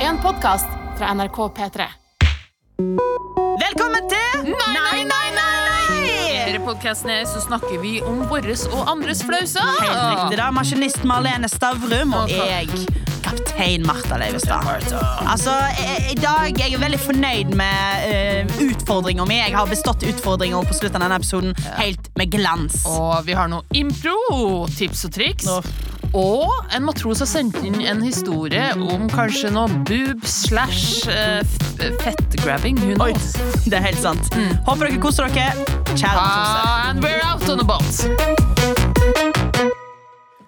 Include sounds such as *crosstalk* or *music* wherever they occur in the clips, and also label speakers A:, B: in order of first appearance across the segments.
A: en podkast fra NRK P3.
B: Velkommen til
A: Nei, nei, nei!
B: Denne
A: podkastene så snakker vi om våres og andres flauser.
B: Helt riktig da, Maskinist Marlene Stavrum og
A: Ok.
B: jeg, kaptein Martha Leivestad. Altså, jeg, I dag er jeg veldig fornøyd med uh, utfordringa mi. Jeg har bestått utfordringa på slutten av denne episoden helt med glans.
A: Og vi har noe impro, tips og triks.
B: Nå.
A: Og en matros har sendt inn en historie om kanskje noe boob slash eh, f- fettgrabbing. Who
B: Oi,
A: knows?
B: det er helt sant. Håper dere koser dere. Kjære Matose.
A: And we're out on the boat.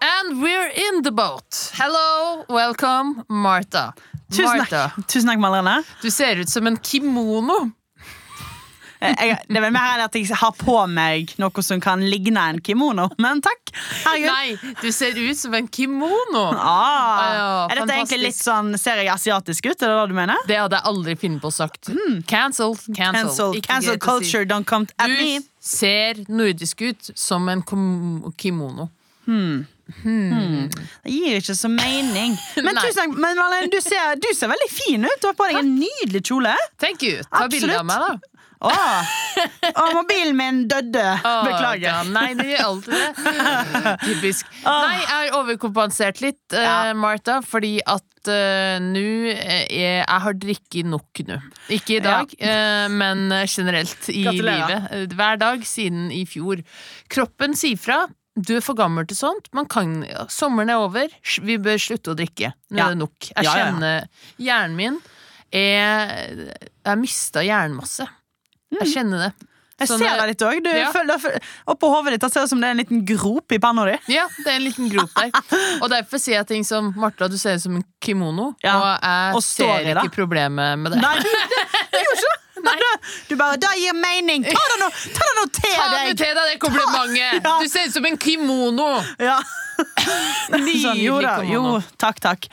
A: And we're in the boat. Hello, welcome, Martha.
B: Tusen
A: Martha,
B: takk, Tusen takk Malene.
A: du ser ut som en kimono.
B: Eh, Jeg, det er vel mer enn at jeg har på meg noe som kan ligne en kimono, men takk. Herregud.
A: Nei, du ser ut som en kimono.
B: Ah,
A: Ja,
B: er dette egentlig
A: fantastisk.
B: litt sånn, Ser jeg asiatisk ut? Er det det du mener?
A: Det hadde jeg aldri funnet på å sagt. Cancel, cancel.
B: Hmm. Cancel,
A: Ikke
B: cancel
A: greit å si.
B: culture, don't come at me.
A: Du ser nordisk ut som en kom kimono.
B: Det gir ikke så mening. Men
A: *laughs* Nei.
B: tusen takk, men Marlene, du ser, du ser veldig fin ut. Du har på deg en nydelig kjole.
A: Thank you. Ta
B: Absolutt.
A: bilde av meg, da.
B: Åh, Åh, mobilen min døde.
A: *laughs* Å, ja,
B: Beklager.
A: nei, det gjør alltid
B: *laughs*
A: det. Typisk. Nei, jeg har overkompensert litt,
B: Ja.
A: eh, Martha, fordi at eh, nå eh, Jeg har drikket nok nå. Ikke i dag, eh, men eh, generelt i
B: Gratulerer.
A: livet. Eh, Hver dag siden i fjor. Kroppen sier fra. Du er for gammel til sånt. Man kan, sommeren er over. Sj- Vi bør slutte å drikke. Nå
B: Ja.
A: er det nok. Jeg
B: Ja, ja, ja.
A: kjenner hjernen min er Jeg mista jernmasse. Jeg
B: Mm.
A: kjenner det.
B: Jeg
A: Sånn,
B: ser
A: eh,
B: deg litt òg.
A: ja.
B: Oppå hodet ditt det ser det ut som det er en liten grop i panna di.
A: Ja, det er en liten grop
B: *laughs*
A: der. Og derfor sier jeg ting som Martha, du ser ut som en kimono,
B: Ja,
A: og jeg
B: og står i
A: ser
B: det.
A: ikke problemet med det. *laughs*
B: Nei, du, det, det gjorde ikke det. Men du- Du bare 'Det gir mening'. Ta det nå, ta det nå til
A: Ta nå
B: deg.
A: til deg det komplimentet!
B: *laughs* Ja.
A: Du ser ut som en kimono! *laughs*
B: Ja. sånn, jo da.
A: kimono.
B: Jo, takk, takk.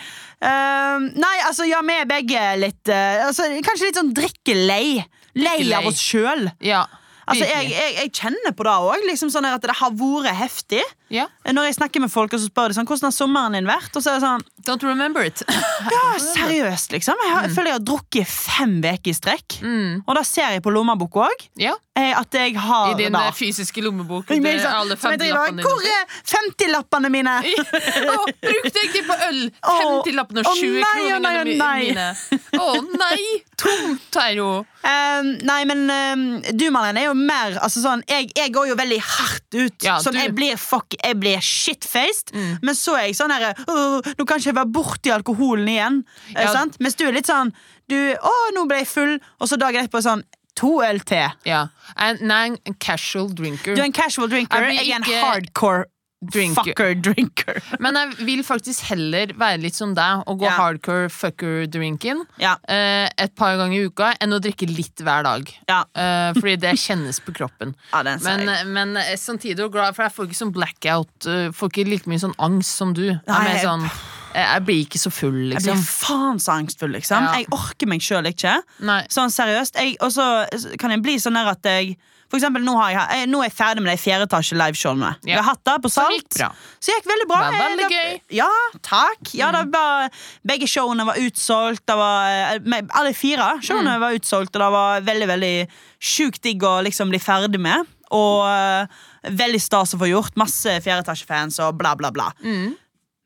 B: Ehm, nei, altså, ja, vi er begge litt eh, altså, Kanskje litt sånn drikkelei. Lei av
A: Drikkelei.
B: oss sjøl.
A: Ja,
B: Altså, jeg,
A: virkelig.
B: jeg, jeg kjenner på det òg. Liksom sånn her at det har vært heftig.
A: Ja,
B: Når jeg snakker med folk og så spør de sånn, hvordan har sommeren din vært, og så er det sånn
A: Don't remember it.
B: Ja, seriøst, liksom. Jeg, har, jeg føler jeg har drukket fem uker i strekk.
A: *laughs* Mm.
B: Og da ser jeg på lommeboka òg
A: Ja,
B: at jeg
A: I
B: har
A: din
B: det.
A: eh, fysiske lommebok.
B: Jeg
A: Det
B: mener
A: er
B: sånn,
A: alle
B: som jeg driver,
A: 50-lappene
B: Hvor
A: dine.
B: er 50-lappene mine?
A: *laughs* Å, brukte jeg dem på øl?
B: Å,
A: 50-lappene og
B: å
A: 20
B: nei, å nei,
A: kroningene
B: å
A: mi-
B: nei.
A: mine. Å nei! Tomt er jo
B: Um, nei, men um, du, Marlene, er jo mer altså, sånn, jeg, jeg går jo veldig hardt ut.
A: Ja,
B: sånn,
A: du- Mm.
B: jeg blir, fuck, jeg blir shitfaced. Men så er jeg sånn her «Åh, Nå kan ikke jeg være borti alkoholen igjen. Eh,
A: Ja.
B: sant? Mens du er litt sånn du, Å, nå ble jeg full. Og så dagen etterpå sånn To øl til.
A: Ja. En, nei, en casual drinker.
B: Du er en casual drinker.
A: Jeg blir
B: Jeg, er en
A: ikke-
B: hardcore
A: Drinker.
B: fucker drinker.
A: Men jeg vil faktisk heller være litt som deg og gå
B: Ja.
A: hardcore fucker-drinken
B: Ja,
A: eh, et par ganger i uka enn å drikke litt hver dag.
B: ja.
A: Eh, fordi det kjennes på
B: *laughs*
A: kroppen.
B: ja den ser
A: Men,
B: jeg.
A: men eh, samtidig er jeg glad, for jeg får ikke sånn blackout. eh, Får ikke like mye sånn angst som du. Jeg, er
B: Nei,
A: mer
B: jeg-
A: sånn, eh, jeg blir ikke så full,
B: Jeg blir
A: liksom.
B: faen så angstfull, liksom.
A: Ja.
B: Jeg orker meg sjøl ikke.
A: Nei.
B: Sånn seriøst. Jeg- Og så kan jeg bli sånn der at jeg for eksempel, nå, har jeg, eh, nå er jeg ferdig med de fjerde etasje liveshowene. Vi
A: Ja.
B: har hatt det på Salt.
A: gikk bra.
B: Så gikk veldig bra.
A: Det var veldig
B: Eh, da-
A: gøy. Mm.
B: Ja, takk. Ja, det var, begge showene var utsolgt. Det var, eh, med- alle fire showene
A: Mm.
B: var utsolgt, og det var veldig veldig sjukt digg å liksom bli ferdig med. Og eh, veldig stas å få gjort. Masse fjerde etasje-fans og bla, bla, bla.
A: Mm.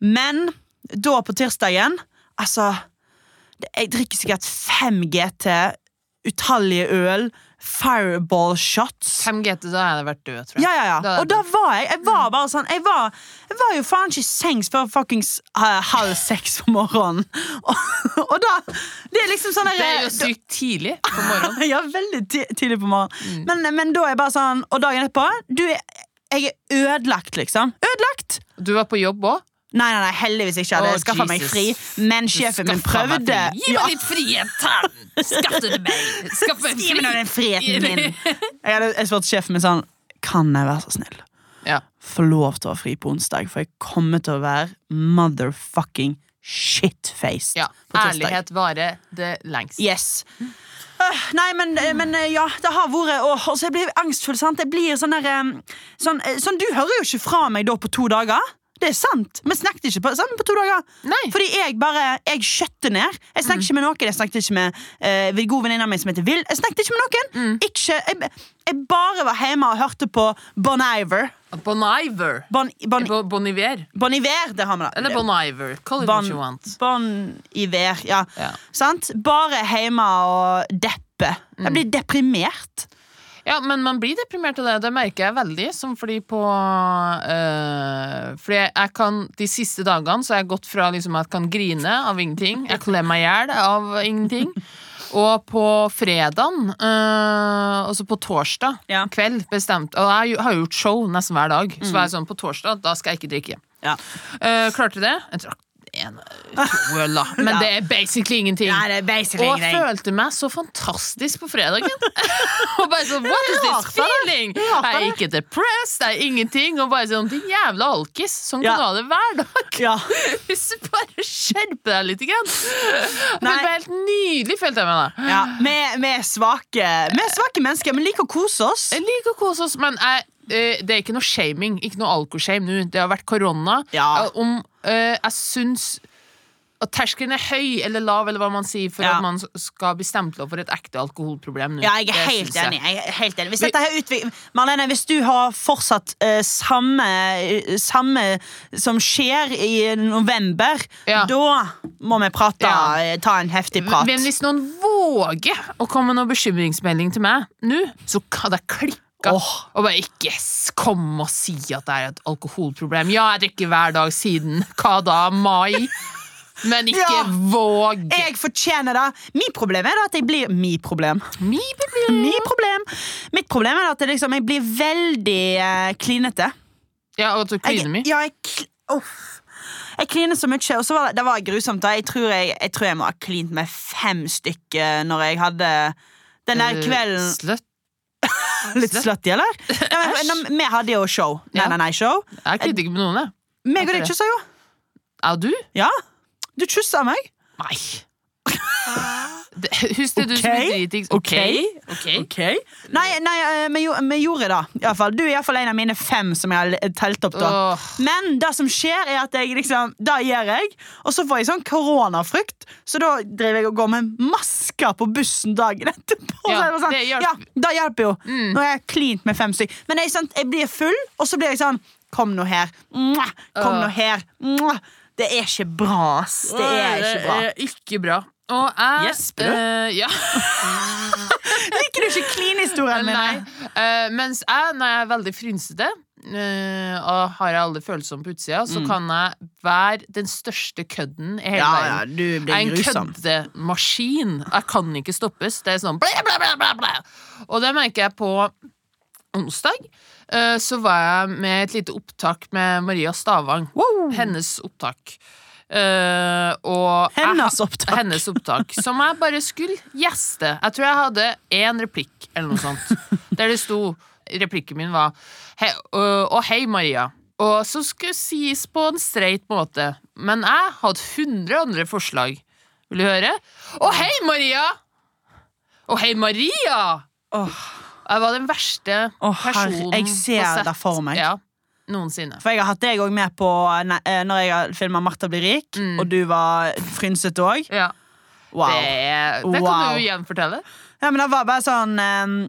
B: Men da på tirsdagen Altså det- Jeg drikker sikkert 5 GT Utallige øl Fireball shots
A: 5 GT, da hadde jeg vært død, tror jeg.
B: ja,
A: Da
B: ja, ja.
A: hadde
B: Og da var jeg Jeg var bare sånn Jeg var, jeg var jo faen ikke i sengs før fuckings eh, halv seks på morgenen. *laughs* Og, og da Det er liksom sånn der-
A: Det er jo sykt tidlig på morgenen.
B: *laughs*
A: Mm.
B: ja, veldig ti- tidlig på morgenen. Men, men da er jeg bare sånn Og dagen etterpå Du, jeg, jeg er ødelagt, liksom. Ødelagt!
A: Du var på jobb òg.
B: Nei, nei, nei, heldigvis ikke. Jeg hadde
A: Å,
B: skaffa meg
A: Jesus.
B: fri. Men sjefen min prøvde.
A: Gi meg litt frihet! her. Skaff det til meg! Skaff meg
B: Gi meg nå den friheten
A: Gi-
B: din!
A: *laughs*
B: Jeg hadde jeg spurte sjefen min sånn Kan jeg være så snill?
A: Ja.
B: Få lov til å ha fri på onsdag, for jeg kommer til å være motherfucking shitfaced
A: Ja,
B: på tirsdag.
A: ærlighet varer det lengst.
B: Yes. Øh, nei, men, men ja, det har vært Åh, øh, altså, Jeg blir angstfull, sant? Jeg blir sånn der, eh, sånn, eh, sånn, Du hører jo ikke fra meg da på to dager. Det er sant. Vi snakket ikke på, sammen på to dager.
A: Nei. Mm.
B: Fordi jeg bare, jeg skjøtter ned. Jeg snakket ikke med noen. Jeg snakket ikke med eh, en god venninne av meg som heter Vil. Jeg snakket ikke med noen.
A: Mm.
B: Ikke, jeg, jeg bare var hjemme og hørte på Bon Iver.
A: Bon Iver.
B: Bon, bon,
A: Bo- Bon Iver.
B: bon Iver, det har vi da.
A: Eller Bon Iver. Call it what you
B: Bon,
A: want.
B: bon Iver, ja.
A: Ja.
B: Sant? Bare hjemme og deppe. Jeg
A: Mm.
B: blir deprimert.
A: Ja, men man blir deprimert av det. Det merker jeg veldig. Som fordi på øh, Fordi jeg, jeg kan De siste dagene så har jeg gått fra liksom at jeg kan grine av ingenting, jeg klemmer meg i hjel av ingenting, og på fredagen, øh, altså på torsdag
B: Ja.
A: kveld, bestemt Og jeg har gjort show nesten hver dag, så
B: Mm.
A: var jeg sånn på torsdag, da skal jeg ikke drikke.
B: Ja.
A: Eh, klarte det. Jeg trakk en, to øl, da.
B: *laughs*
A: Men
B: Ja.
A: det er basically ingenting.
B: Nei, det er basically
A: Og jeg
B: ingenting.
A: følte meg så fantastisk på fredagen. *laughs* og bare sånn, what is this
B: Rart, da.
A: feeling?
B: Rart, da.
A: Jeg er ikke depressed, det er ingenting. Og bare sånn, din jævla alkis. Sånn
B: Ja.
A: kan du ha det hver dag. *laughs*
B: Ja.
A: Hvis du bare skjerper deg litt. Grann. Men
B: Nei.
A: det var helt nydelig, følte jeg meg da.
B: Ja, vi, vi, er svake, vi er svake mennesker, men liker å kose oss.
A: Jeg liker å kose oss, men jeg, eh, det er ikke noe shaming. Ikke noe alkoshame nå. Det har vært korona.
B: Ja.
A: Eh, Om eh, jeg syns at terskelen er høy eller lav, eller hva man sier, for
B: Ja.
A: at man skal bli stempla for et ekte alkoholproblem nå.
B: Ja, jeg
A: Det
B: er helt
A: syns jeg.
B: enig. Jeg er helt enig. Hvis, dette her utvik- Marlene, hvis du har fortsatt eh, samme, samme som skjer i november,
A: Ja.
B: da må vi prate,
A: Ja.
B: eh, ta en heftig prat.
A: Men hvis noen våger å komme med noen bekymringsmelding til meg nå, så hadde jeg klikka.
B: Åh.
A: Og bare ikke s- kom og si at det er et alkoholproblem. Ja, jeg drikker hver dag siden hva da,
B: *laughs*
A: mai? Men ikke
B: Ja.
A: våg.
B: jeg fortjener det. Mitt problem er da at jeg blir Mitt problem.
A: Mi, bi, bi.
B: Mitt problem, Mitt problem er da at jeg, liksom, jeg blir veldig eh, klinete.
A: Ja, og at du kliner mye.
B: Jeg, ja, jeg, kl- uff. jeg kliner så mye, og så var det, det var grusomt. Da. Jeg, tror jeg, jeg tror jeg må ha klint med fem stykker eh, når jeg hadde den
A: Eh,
B: der kvelden.
A: Slutt.
B: Litt
A: *laughs*
B: slutty, eller? Nei, men,
A: Æsj.
B: nei, vi hadde jo show. Nei,
A: Ja.
B: nei, nei, show.
A: Jeg klinte ikke med noen, jeg.
B: Meg og deg
A: det.
B: kyssa jo.
A: Ja, du?
B: Ja. Du kyssa meg.
A: Nei. Det- Husk det, du som
B: Ok.
A: er dritings. Ok.
B: Nei, nei eh, vi, gjo- vi gjorde det. I hvert fall. Du er iallfall en av mine fem som jeg har l- telt opp. da
A: Åh.
B: Men det som skjer, er at jeg liksom Da gjør jeg, og så får jeg sånn koronafrykt. Så da driver jeg og går med masker på bussen dagen etterpå.
A: Ja,
B: så er det sånn,
A: det hjelper. Mm.
B: ja, da hjelper jo. Nå er jeg cleant med fem stykker. Men jeg, sant, jeg blir full, og så blir jeg sånn Kom nå her. Mwah! Kom nå
A: Åh.
B: her. Mwah! Det er ikke bra, ass. Det er ikke bra.
A: Det er ikke bra. Og jeg
B: Gjesper du?
A: eh, ja.
B: Liker du ikke clean-historien
A: Nei.
B: min?
A: Eh, mens jeg, når jeg er veldig frynsete eh, og har alle følelser på utsida, så kan jeg være den største kødden i hele
B: Mm. Ja, ja,
A: verden.
B: du
A: Jeg
B: blir
A: er en
B: grusom.
A: køddemaskin. Jeg kan ikke stoppes. Det er sånn blæ, blæ, blæ, blæ, blæ. Og det merker jeg på onsdag. eh, Så var jeg med et lite opptak med Maria Stavang.
B: Wow.
A: Hennes opptak. Eh, og jeg
B: Hennes
A: ha-
B: opptak.
A: hennes opptak. Som jeg bare skulle gjeste. Jeg tror jeg hadde én replikk eller noe sånt. Der det sto Replikken min var hei, øh, Og hei, Maria. Og som skulle sies på en streit måte. Men jeg hadde 100 andre forslag. Vil du høre? Og hei, Maria! Og hei, Maria!
B: Åh,
A: Jeg var den verste
B: Åh, herre,
A: personen
B: jeg ser
A: på sett.
B: det for meg.
A: Ja, noensinne.
B: For jeg har hatt deg òg med på nei, eh, når jeg har filma 'Martha blir rik', og du var frynsete òg.
A: Ja.
B: Wow.
A: Mm. Det, det kan
B: Wow.
A: du jo gjenfortelle.
B: Ja, men det var bare sånn eh,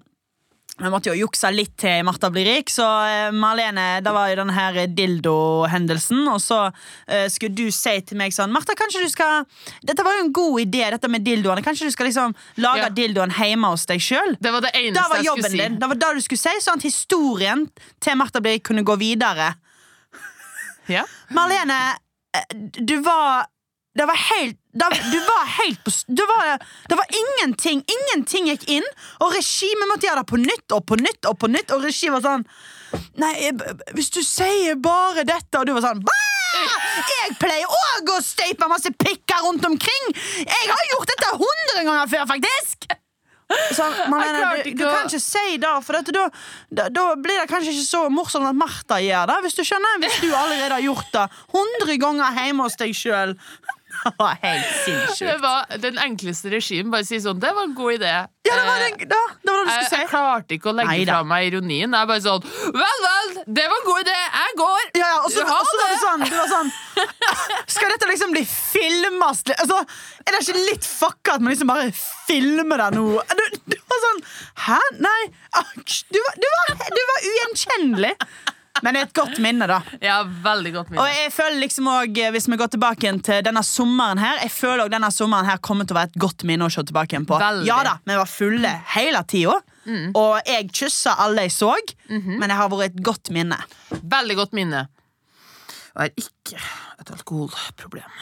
B: jeg måtte jo jukse litt til i Martha blir rik, så eh, Marlene, det var jo den her dildo-hendelsen, og så eh, skulle du si til meg sånn Martha, kanskje du skal Dette var jo en god idé, dette med dildoene. Kanskje du skal liksom lage
A: Ja.
B: dildoen hjemme hos deg sjøl?
A: Det var det eneste
B: Det var
A: jeg skulle
B: jobben
A: si.
B: din. Det var det du skulle si, sånn at historien til Martha blir kunne gå videre.
A: Ja.
B: Marlene, eh, du var Det var helt da, Du var helt på s- du var, Det var ingenting. Ingenting gikk inn, og regimet måtte gjøre det på nytt og på nytt og på nytt, og regi var sånn Nei, jeg, hvis du sier bare dette, og du var sånn «Bæ! jeg pleier òg å støype masse pikker rundt omkring! Jeg har gjort dette hundre ganger før, faktisk! Så, Marlene,
A: klarte
B: du,
A: ikke
B: du
A: å-
B: kan ikke si det, for dette, da, da, da blir det kanskje ikke så morsomt at Martha gjør det. Hvis du skjønner, hvis du allerede har gjort det hundre ganger hjemme hos deg sjøl. *laughs* det var helt
A: Det
B: sinnssykt.
A: var den enkleste regien. Bare si sånn 'Det var en god idé'. Eh,
B: Ja, det var det, da, det var det du
A: Jeg, jeg
B: skulle si.
A: klarte ikke å legge
B: Neida.
A: fra meg ironien. Jeg er bare sånn Vel, vel, det var en god idé. Jeg går.
B: Ja, ja, og så,
A: Ha
B: og så var det
A: det.
B: sånn, det var sånn Skal dette liksom bli filmet? Altså, er det ikke litt fucka at man liksom bare filmer det nå? Du, du var sånn Hæ? Nei. Ak, Du var, du var, du var ugjenkjennelig. Men det er et godt minne, da.
A: Ja, veldig godt
B: Og
A: minne.
B: jeg føler liksom også, eh, Hvis vi går tilbake igjen til denne sommeren her Jeg føler også denne sommeren her kommer til å være et godt minne å se tilbake igjen på.
A: Veldig. Mm.
B: Ja da, Vi var fulle hele tida, og jeg kyssa alle jeg så,
A: Mhm.
B: men det har vært et godt minne.
A: Veldig godt minne. Og er ikke et alkoholproblem.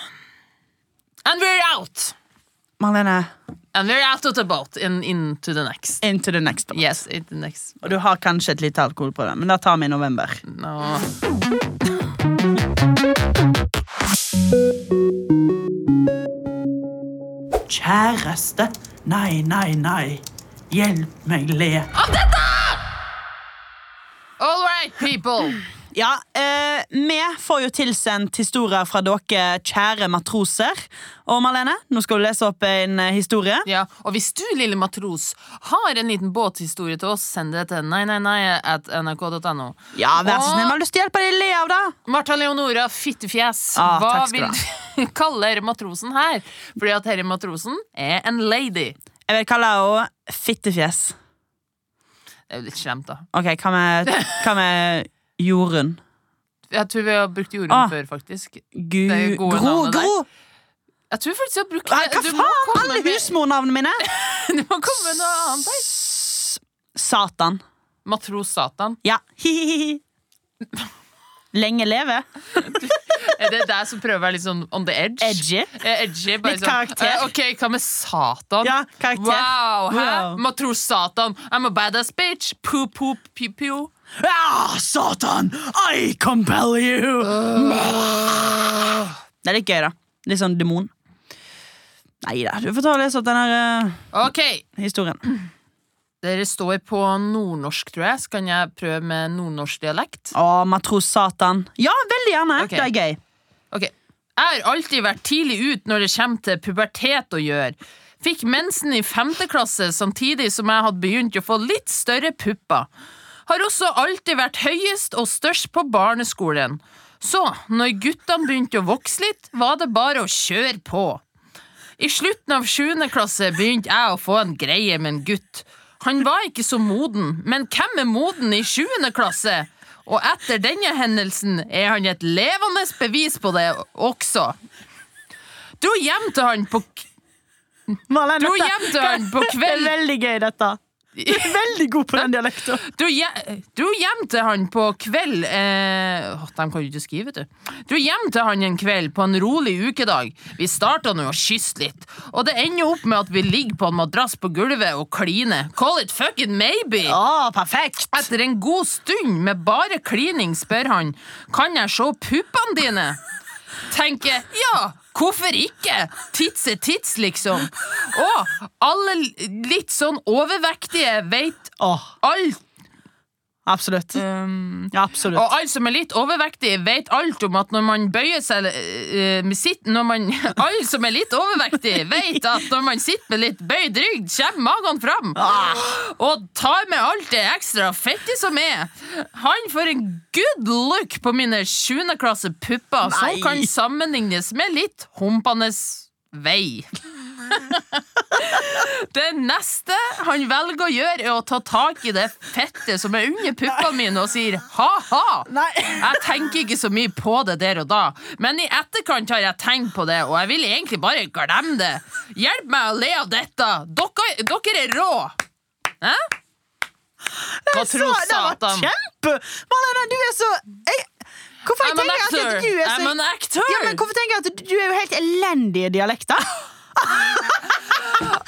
A: And we're out!
B: Marlene,
A: And we're out of the boat and into the next.
B: into the next one.
A: Yes, into the next.
B: Og du har kanskje et lite alkohol på det, men det tar vi i november.
A: No.
B: Kjæreste, nei, nei, nei. Hjelp meg le.
A: All right, people.
B: Ja, eh, vi får jo tilsendt historier fra dere kjære matroser. Og Marlene, nå skal du lese opp en eh, historie.
A: Ja, og hvis du, lille matros, har en liten båthistorie til oss, send det til nei, nei, nei at nrk.no.
B: Ja, vær så
A: Og-
B: snill, vi har lyst til å hjelpe deg å le av det.
A: Martha Leonora Fittefjes,
B: Ah,
A: hva
B: takk
A: vil
B: skal du
A: du *laughs* kalle herre matrosen her? Fordi at herre matrosen er en lady.
B: Jeg vil kalle henne Fittefjes.
A: Det er jo litt slemt, da.
B: Ok, hva *laughs* med, hva med Jorunn?
A: Jeg tror vi har brukt jorden
B: Ah.
A: før, faktisk.
B: Gu...
A: Det er gode
B: Gro,
A: navnet der.
B: Gro!
A: Jeg tror faktisk jeg har brukt
B: Nei, hva
A: Du må
B: faen?
A: komme
B: Alle
A: med-
B: husmornavnene mine!
A: *laughs* Du må komme med noe annet her.
B: S- Satan.
A: Matros Satan.
B: Ja. Hihihi. Lenge leve.
A: Er det deg som prøver å være litt sånn on the edge?
B: Edgy.
A: Eh, edgy bare
B: Litt
A: sånn,
B: karakter.
A: eh, Ok, hva med Satan?
B: Ja, karakter.
A: Wow, hæ?
B: Wow.
A: Matros Satan. I'm a badass bitch. Poo, poo, pew, pew.
B: Ah, Satan! I compel you! Det er litt gøy, da. Litt sånn demon. Nei da, du får ta og lese opp den her eh,
A: Ok,
B: historien.
A: Dere står på nordnorsk, tror jeg. Så kan jeg prøve med nordnorsk dialekt.
B: Å, matros Satan. Ja, veldig gjerne.
A: Ok.
B: Det er gøy.
A: Ok. Jeg har alltid vært tidlig ut når det kommer til pubertet å gjøre. Fikk mensen i femte klasse samtidig som jeg hadde begynt å få litt større pupper. Har også alltid vært høyest og størst på barneskolen. Så, når guttene begynte å vokse litt, var det bare å kjøre på. I slutten av 7. klasse begynte jeg å få en greie med en gutt. Han var ikke så moden, men hvem er moden i 7. klasse? Og etter denne hendelsen er han et levende bevis på det også. Dro hjem til han på,
B: Marlene,
A: dro
B: dette-
A: hjem til han
B: *laughs*
A: på
B: Det er
A: kveld...
B: veldig gøy,
A: *laughs*
B: dette. Du er veldig god på den dialekta.
A: Dro, hje- dro hjem til han på kveld eh, åh, De kan jo ikke skrive, vet du. Dro hjem til han en kveld på en rolig ukedag. Vi starta nå å kysse litt, og det ender opp med at vi ligger på en madrass på gulvet og kliner. Call it fucking maybe!
B: Å, perfekt!
A: Etter en god stund med bare klining spør han Kan jeg se puppene dine? Tenker ja, hvorfor ikke? Tits er tits, liksom. Og alle litt sånn overvektige veit
B: Åh,
A: alt
B: absolutt. absolutt.
A: og alle som er litt overvektige, vet alt om at når man bøyer seg eh, med sitt, når man, *laughs* Alle som er litt overvektige, vet at når man sitter med litt bøyd rygg, kommer magen fram.
B: Ah.
A: Og tar med alt det ekstra fettet som er. Han får en good look på mine 7. klasse pupper,
B: Nei.
A: som kan sammenlignes med litt humpende vei. Det neste han velger å gjøre, er å ta tak i det fettet som er under puppene mine, og sier ha-ha.
B: Nei.
A: Jeg tenker ikke så mye på det der og da, men i etterkant har jeg tenkt på det, og jeg vil egentlig bare glemme det. Hjelp meg å le av dette. Dere, dere er rå. Hæ? Hva
B: Så,
A: tror
B: det var
A: Satan?
B: kjempe! Marlene, du er så jeg, Hvorfor jeg
A: I'm an
B: tenker jeg at
A: actor.
B: du er så
A: I'm an actor.
B: ja, men Hvorfor tenker jeg at du er jo helt elendig i
A: *laughs*
B: dialekter?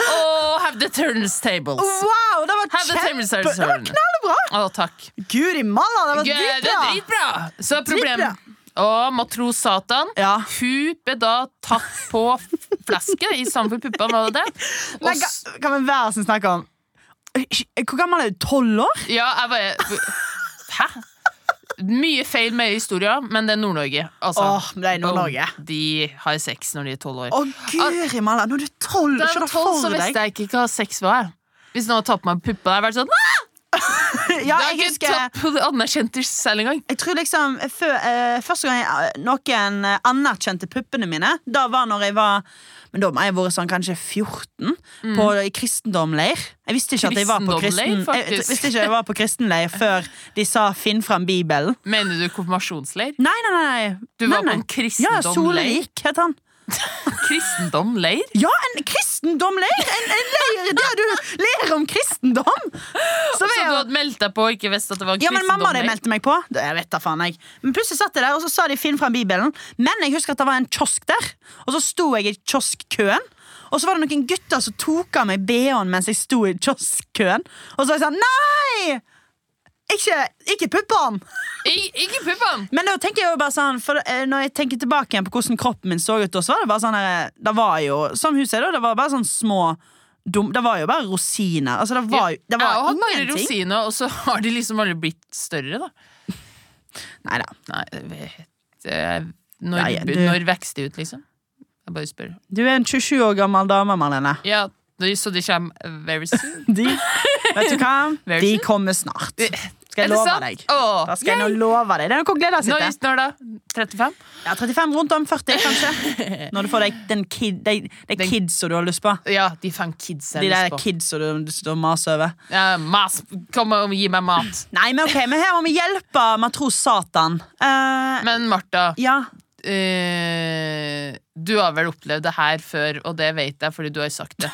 A: Oh, have the turntables.
B: Wow, det var
A: Have the tables
B: kjempe!
A: are
B: Det var
A: turned.
B: knallbra!
A: Å, takk.
B: Guri malla, det var
A: Ja, Det er
B: dritbra!
A: dritbra! Så problem
B: Dritbra.
A: Og matros Satan,
B: Ja.
A: hun ble da tatt på flasket istedenfor puppa, var
B: *laughs*
A: det det? Og,
B: Nei,
A: s-
B: ga- Kan vi være så snakke om Hvor gammel er du? Tolv år?
A: ja, jeg bare Hæ? Mye feil med historia, men det er Nord-Norge. Altså,
B: Åh, men det er Nord-Norge.
A: Boom. De har sex når de er tolv år.
B: Å, guri malla, nå er du tolv!
A: da jeg
B: Se
A: var
B: det
A: tolv, så
B: for deg!
A: visste jeg ikke hva sex var. Hvis noen hadde tatt på meg puppa, hadde jeg vært sånn «Ah, Det
B: Ja,
A: er
B: jeg
A: ikke
B: husker
A: tatt på det anerkjente selv engang.
B: Jeg tror liksom før, eh, Første gang jeg, eh, noen eh, anerkjente puppene mine, da var når jeg var Men da må jeg ha vært sånn kanskje 14, på, i kristendomleir. Jeg visste ikke at jeg var
A: Mm.
B: på kristen,
A: Kristendomleir,
B: jeg,
A: faktisk.
B: t- visste ikke jeg var på kristenleir før de sa 'finn fram Bibelen'.
A: Mener du konfirmasjonsleir?
B: Nei, nei, nei.
A: Du
B: nei,
A: var på
B: nei.
A: en
B: Ja,
A: kristendomleir?
B: Solvik het han.
A: Kristendomleir?
B: Ja, en kristendomleir! En, en leir der du ler om kristendom! Så
A: Så
B: var
A: du
B: jeg-
A: hadde meldt deg på og ikke visste at det var en
B: Ja, men mamma hadde
A: kristendomleir?
B: meldte meg på. Det- Jeg vet da faen jeg Men plutselig satt jeg der, og så sa de 'finn fram Bibelen'. Men jeg husker at det var en kiosk der, og så sto jeg i kioskkøen. Og så var det noen gutter som tok av meg BH-en mens jeg sto i kioskkøen. Og så var jeg sånn Nei! Ikke, ikke puppene!
A: Ik ikke puppene!
B: Men da tenker jeg jo bare sånn For eh, når jeg tenker tilbake igjen på hvordan kroppen min så ut, da, så var det bare sånn her, Det var jo, som hun sier, da, det var bare sånn små dum, Det var jo bare rosiner. Altså, det var jo det
A: Jeg
B: var
A: har bare
B: ingenting.
A: rosiner, og så har de liksom aldri blitt større, da.
B: Nei da.
A: Nei, jeg vet eh, Når,
B: Nei, du-
A: når vokser de ut, liksom? Jeg bare spør.
B: Du er en 27 år gammel dame, Marlene.
A: Ja, de, så de kommer very soon.
B: De, vet du hva?
A: Very
B: De
A: soon.
B: kommer snart. Skal
A: Er
B: *laughs* jeg
A: det
B: love
A: sant?
B: deg?
A: Åh,
B: Da skal jeg
A: yay!
B: nå love deg. Det er noe å glede seg
A: Når,
B: til.
A: når da? 35?
B: Ja, 35 rundt om 40, kanskje.
A: *laughs*
B: Når du får deg den kid, de, de
A: Den-
B: kids som du har lyst på.
A: Ja, de faen kids jeg
B: De
A: har
B: der
A: lyst på.
B: kids som du, du maser over.
A: Ja, mas, kom og gi meg mat.
B: Nei, men ok, men her må vi hjelpe matros Satan. Eh,
A: Men Martha,
B: ja.
A: eh, du har vel opplevd det her før, og det vet jeg fordi du har sagt
B: *laughs*
A: det.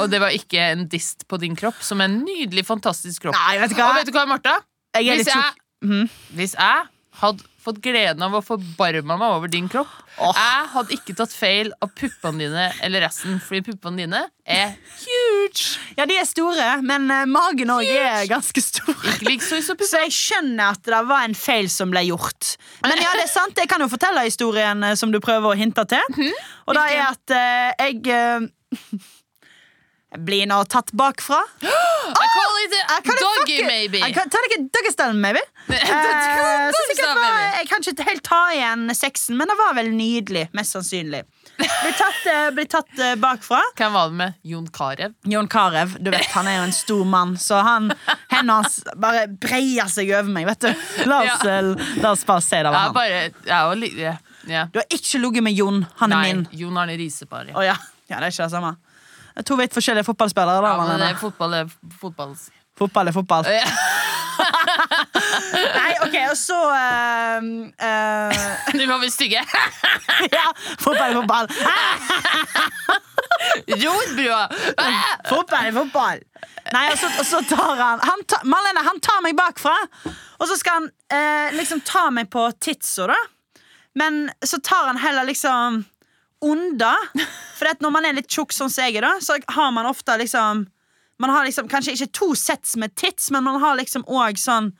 A: Og det var ikke en dist på din kropp, som er en nydelig, fantastisk kropp.
B: Nei, vet du hva?
A: Og vet du hva, Martha?
B: Jeg er
A: Hvis
B: litt
A: jeg,
B: tjukk. Mhm.
A: hvis jeg hadde fått gleden av å forbarme meg over din kropp
B: Åh.
A: Jeg hadde ikke tatt feil av puppene dine eller resten, fordi puppene dine er huge.
B: Ja, de er store, men eh, magen òg er ganske stor.
A: Ikke like stor som
B: Så jeg skjønner at det var en feil som ble gjort. Men ja, det er sant, jeg kan jo fortelle historien eh, som du prøver å hinte
A: Mhm.
B: til. Og da er at eh, jeg eh, *laughs* jeg blir nå tatt bakfra.
A: I call it a
B: Kan jeg
A: doggy,
B: fucking-
A: maybe.
B: Jeg kan- Ta deg ikke doggystellen,
A: *laughs*
B: maybe.
A: Doggy
B: Eh, så
A: style,
B: sikkert var,
A: maybe.
B: jeg kan ikke helt ta igjen sexen, men det var vel nydelig. Mest sannsynlig. Blir tatt, eh, blir tatt eh, bakfra.
A: Hvem var det med? Jon Carew?
B: Jon Carew, du vet, han er jo en stor mann, så han, hendene hans bare breier seg over meg, vet du. La oss,
A: Ja.
B: eh, la oss bare se det var
A: Jeg
B: han.
A: bare jeg var litt, ja. ja.
B: Du har ikke ligget med Jon, han er
A: Nei,
B: min.
A: Jon Arne Riise, bare.
B: Å ja. ja, det er ikke det samme. Det er To vidt forskjellige fotballspillere. Da,
A: Ja, men det
B: Malene.
A: er fotball, det er fotball. *laughs*
B: Fotball er fotball.
A: Ja.
B: *laughs* Nei, ok, og så eh, eh, *laughs*
A: Du var vi stygge.
B: Ja, fotball er fotball. Ah,
A: Rotbrua!
B: fotball er fotball. Nei, og så, og så tar han, han ta, Malene, han tar meg bakfra, og så skal han eh, liksom ta meg på tidsa, da. Men så tar han heller liksom under. For at når man er litt tjukk sånn som jeg er, da, så har man ofte liksom Man har liksom kanskje ikke to sets med tits, men man har liksom òg sånn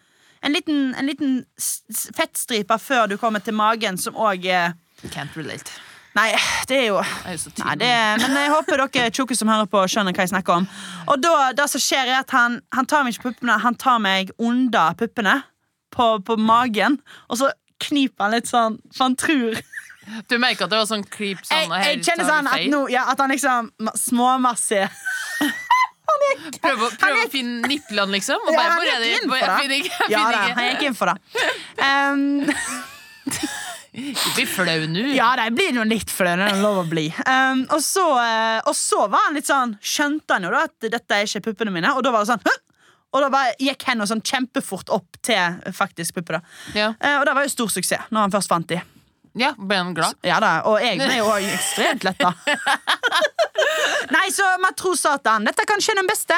B: en liten, en liten s- s- fettstripe før du kommer til magen, som òg er
A: Can't relate.
B: Nei, det er jo
A: Jeg er jo så
B: Nei,
A: tynn.
B: det, men jeg håper dere tjukke som hører på, skjønner hva jeg snakker om. Og da, det som skjer, er at han, han tar meg ikke på puppene, han tar meg under puppene. På, på magen. Og så kniper han litt sånn, for han tror
A: Du merker at det var sånn creep
B: Jeg,
A: sånn, og her
B: jeg kjenner
A: tar
B: sånn
A: vi
B: at,
A: feil.
B: nå, ja, at han liksom ma- småmassig
A: Prøv, å- prøv
B: han
A: å finne nipplene, liksom. Og
B: Ja,
A: bare,
B: han
A: hvor er
B: gikk
A: det?
B: inn
A: Hvor- Jeg
B: for
A: finner
B: det.
A: ikke. Jeg
B: Ja da,
A: finner
B: han
A: ikke.
B: gikk inn for
A: *laughs*
B: det. Um,
A: Ikke bli flau nå.
B: Ja, de blir nå litt flau. Det er lov å bli. Um, og, så, eh, og så var han litt sånn Skjønte han jo da at dette er ikke puppene mine, og da var det sånn «Hø!» Og da bare gikk hendene sånn kjempefort opp til faktisk pupper. da
A: Ja.
B: Eh, Og det var jo stor suksess når han først fant de.
A: ja, ble han glad?
B: Ja da, Og jeg ble jo også ekstremt letta. *laughs* Nei, så matros Satan, dette er kanskje den beste.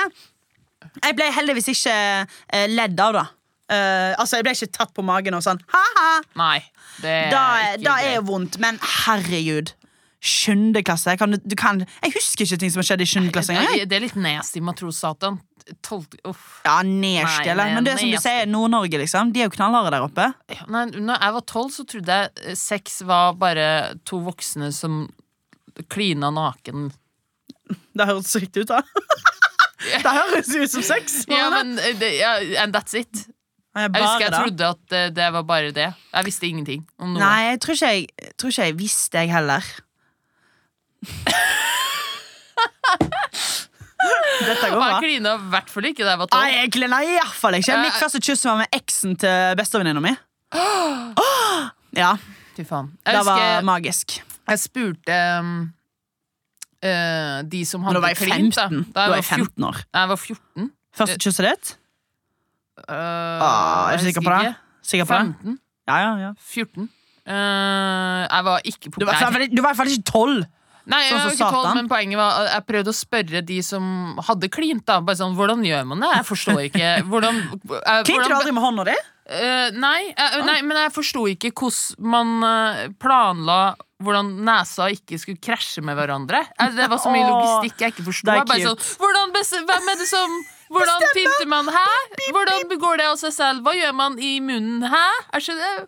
B: Jeg ble heldigvis ikke eh, ledd av, da. Eh, altså, jeg ble ikke tatt på magen og sånn ha-ha.
A: Nei. Det er
B: Da,
A: Eh, ikke
B: da er
A: greit.
B: jo vondt, men herregud. Sjuende klasse. Kan du, du kan, jeg husker ikke ting som har skjedd i sjuende klasse engang. jeg.
A: Det er- Det er litt nasty, matros-satan. Tolvte Uff.
B: Ja,
A: Nei,
B: nedstille.
A: men
B: Men det er som du
A: nasty.
B: sier, Nord-Norge, liksom. De er jo knallharde der oppe.
A: Ja, Nei, når jeg var tolv, så trodde jeg eh, sex var bare to voksne som klina naken.
B: Det høres riktig ut, da. det høres ut som sex.
A: *laughs* Ja,
B: Marianne.
A: men eh, det, ja, And that's it.
B: Jeg
A: Jeg husker jeg
B: det.
A: trodde at eh, det var bare det. Jeg visste ingenting om noe.
B: Nei, jeg tror ikke jeg, jeg tror ikke jeg visste, jeg
A: *laughs*
B: heller. Dette
A: Og
B: går
A: jeg
B: bra.
A: klina i hvert fall ikke da jeg var
B: Nei,
A: tolv.
B: jeg klina i hvert fall ikke. Mitt første kyss var med eksen til
A: *gasps*
B: bestevenninna mi. Åh! Ja,
A: Fy faen. Jeg
B: det var
A: husker
B: magisk.
A: jeg spurte ehm, eh, de som
B: Men
A: hadde
B: da var jeg
A: klint, da. Da
B: 15. Da var
A: jeg
B: jeg
A: var 14.
B: 15 år.
A: Nei, jeg var 14.
B: Første kysset ditt?
A: Eh,
B: Ah, er du
A: jeg
B: sikker på det?
A: husker ikke.
B: Sikker på det?
A: 15?
B: Ja, ja, ja.
A: 14? Eh, jeg var ikke
B: Du var i hvert
A: populær.
B: fall- du var i hvert fall ikke tolv.
A: Nei, jeg
B: sånn
A: var
B: som
A: ikke tolv,
B: Satan.
A: men poenget var at jeg prøvde å spørre de som hadde klint. da Bare sånn, Hvordan gjør man det? Jeg forstår ikke. Hvordan,
B: *laughs*
A: eh,
B: Klinte du
A: hvordan
B: aldri med hånda di?
A: Eh, nei,
B: Ah.
A: eh, nei, men jeg forsto ikke hvordan man eh, planla hvordan nesa ikke skulle krasje med hverandre. Eh, Det var så mye
B: Åh,
A: logistikk jeg ikke forsto.
B: det er
A: Jeg bare
B: cute.
A: Sånn, hvordan bes- hvem er det som Hvordan pynter man Hæ? Hvordan går det av seg selv? Hva gjør man i munnen? Hæ? Jeg skjønner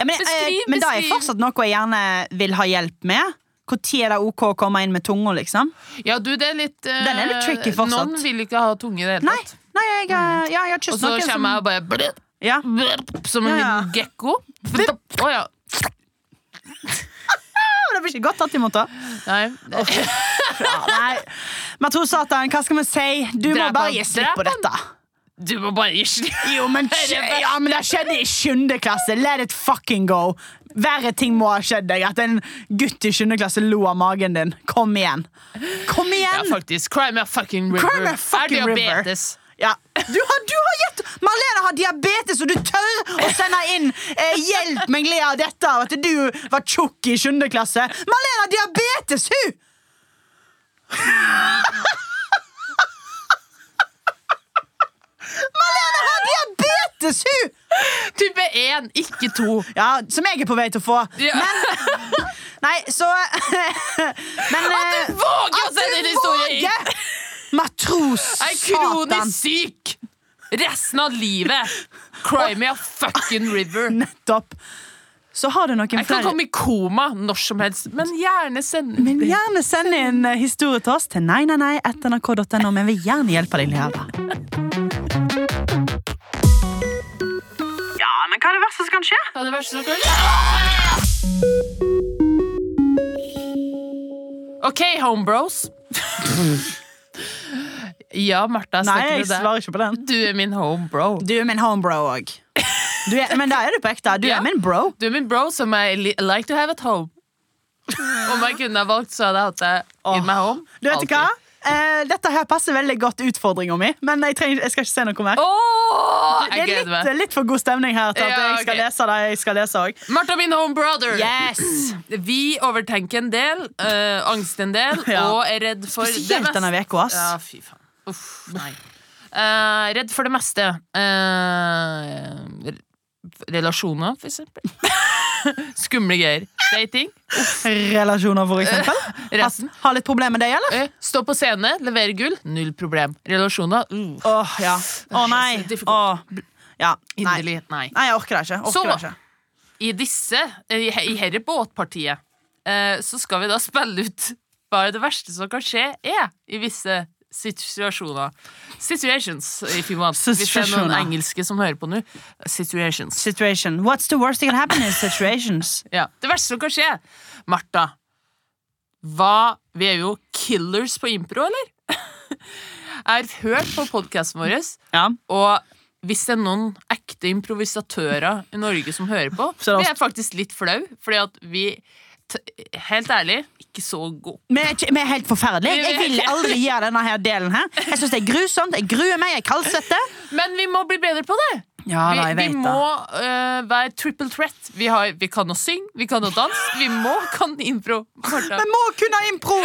B: Ja, men, eh,
A: Beskriv,
B: men det er
A: beskriv.
B: fortsatt noe jeg gjerne vil ha hjelp med. Når er det OK å komme inn med tunga, liksom?
A: Ja, du, det er litt eh,
B: Den er litt tricky fortsatt.
A: Noen vil ikke ha tunge i det hele
B: Nei,
A: tatt.
B: nei jeg, eh, ja,
A: Mm.
B: jeg har
A: Og
B: kysset
A: så
B: noen
A: kommer
B: som
A: jeg og bare blip,
B: ja.
A: blip, Som en
B: Ja, ja.
A: liten gekko. Å ja.
B: Å, Det blir ikke godt tatt imot,
A: *laughs*
B: da.
A: Nei.
B: Ja, nei. Men jeg tror Satan, hva skal vi si? Du må
A: Drep
B: bare
A: han.
B: gi slipp på
A: Drep han.
B: dette.
A: Du må bare gi slipp.
B: Jo, men, skje- ja, men det skjedde i sjuende klasse. Let it fucking go. Verre ting må ha skjedd deg. At en gutt i sjuende klasse lo av magen din. Kom igjen. Kom
A: Ja,
B: igjen!
A: faktisk. Cry me a fucking river.
B: Cry me a fucking
A: Mm-hmm. er
B: river.
A: diabetes.
B: Ja. Du, har, du har gitt Marlene har diabetes, og du tør å sende inn eh, 'hjelp meg, le av dette' av at du var tjukk i 7. klasse. Marlene har diabetes, hun! Marlene har diabetes, hun!
A: Type 1, ikke 2.
B: Ja, som jeg er på vei til å få.
A: Ja.
B: Nei, så
A: *laughs*
B: Men eh,
A: Våger å
B: at
A: sende en
B: du
A: historie!
B: våger! Matros
A: Jeg er
B: Satan.
A: kronisk syk! Resten av livet. Cry me a fucking river.
B: Nettopp. Så har du noen
A: Jeg kan
B: flere
A: komme i koma når som helst, men gjerne send
B: Men gjerne send inn eh, historie til oss til nei, nei, nei etter nrk.no. Men vi vil gjerne hjelpe deg, Lea. Ja, men hva er det verste som kan skje?
A: Det er det verste som kan OK, homebros.
B: *laughs*
A: ja, Martha,
B: Nei,
A: snakker
B: jeg
A: du det?
B: svarer ikke på den.
A: Du er min homebro.
B: Du er min homebro òg. Men da er du på ekte. Du
A: Ja.
B: er min bro.
A: Du er min bro som I li like to have at home. Om jeg kunne ha valgt, så hadde jeg hatt det in my home.
B: Du vet
A: alltid.
B: hva? Eh, dette her passer veldig godt utfordringa mi, men jeg, trenger, jeg skal ikke se noe mer.
A: Åh,
B: det
A: jeg
B: er
A: gleder
B: litt,
A: meg.
B: litt for god stemning her til at
A: Ja,
B: jeg skal
A: ok.
B: lese det jeg skal lese òg.
A: Martha, min home brother.
B: Yes!
A: Vi overtenker en del, øh, angster en del,
B: Ja.
A: og er redd for det
B: Spesielt
A: meste.
B: denne uka, ass.
A: Ja, fy faen. Uff, nei. Eh, redd for det meste. Eh, re- relasjoner, for eksempel. *laughs* Skumle greier. Dating.
B: Relasjoner, for eksempel.
A: *laughs* Resten.
B: Har- Har litt problemer med det, eller?
A: Eh, Stå på scene, levere gull. Null problem. Relasjoner. Uh.
B: Åh, ja. Åh, nei.
A: så difficult.
B: Åh, bl- ja. Nei.
A: Inderlig. Nei.
B: nei, jeg orker det ikke. Orker
A: Så-
B: det ikke.
A: I disse, eh, i, he- i herre båtpartiet, eh, så skal vi da *laughs* spille ut hva det verste som kan skje er i visse situasjoner. Situations, if you want. Hvis det er noen
B: Situasjoner.
A: engelske som hører på nå. Situations.
B: Situation. What's the worst that can happen in
A: *laughs*
B: situations?
A: Ja. Det verste som kan skje. Martha, hva Vi er jo killers på impro, eller? *laughs* Jeg har hørt på podkasten vår,
B: Ja.
A: og hvis det er noen ekte improvisatører i Norge som hører på,
B: Så det er
A: blir jeg faktisk litt flau, fordi at vi t Helt ærlig, ikke så gode.
B: Vi er, ikke- vi er helt forferdelige. Jeg, jeg vil aldri gjøre denne her delen her. Jeg synes det er grusomt. Jeg gruer meg. Jeg kaldsetter.
A: Men vi må bli bedre på det!
B: Ja,
A: Vi,
B: da, jeg
A: vi
B: vet
A: må
B: det.
A: eh, være triple threat. Vi, har, vi kan å synge, vi kan å danse, vi må kan impro. Martha.
B: Vi må kunne
A: *laughs*
B: impro!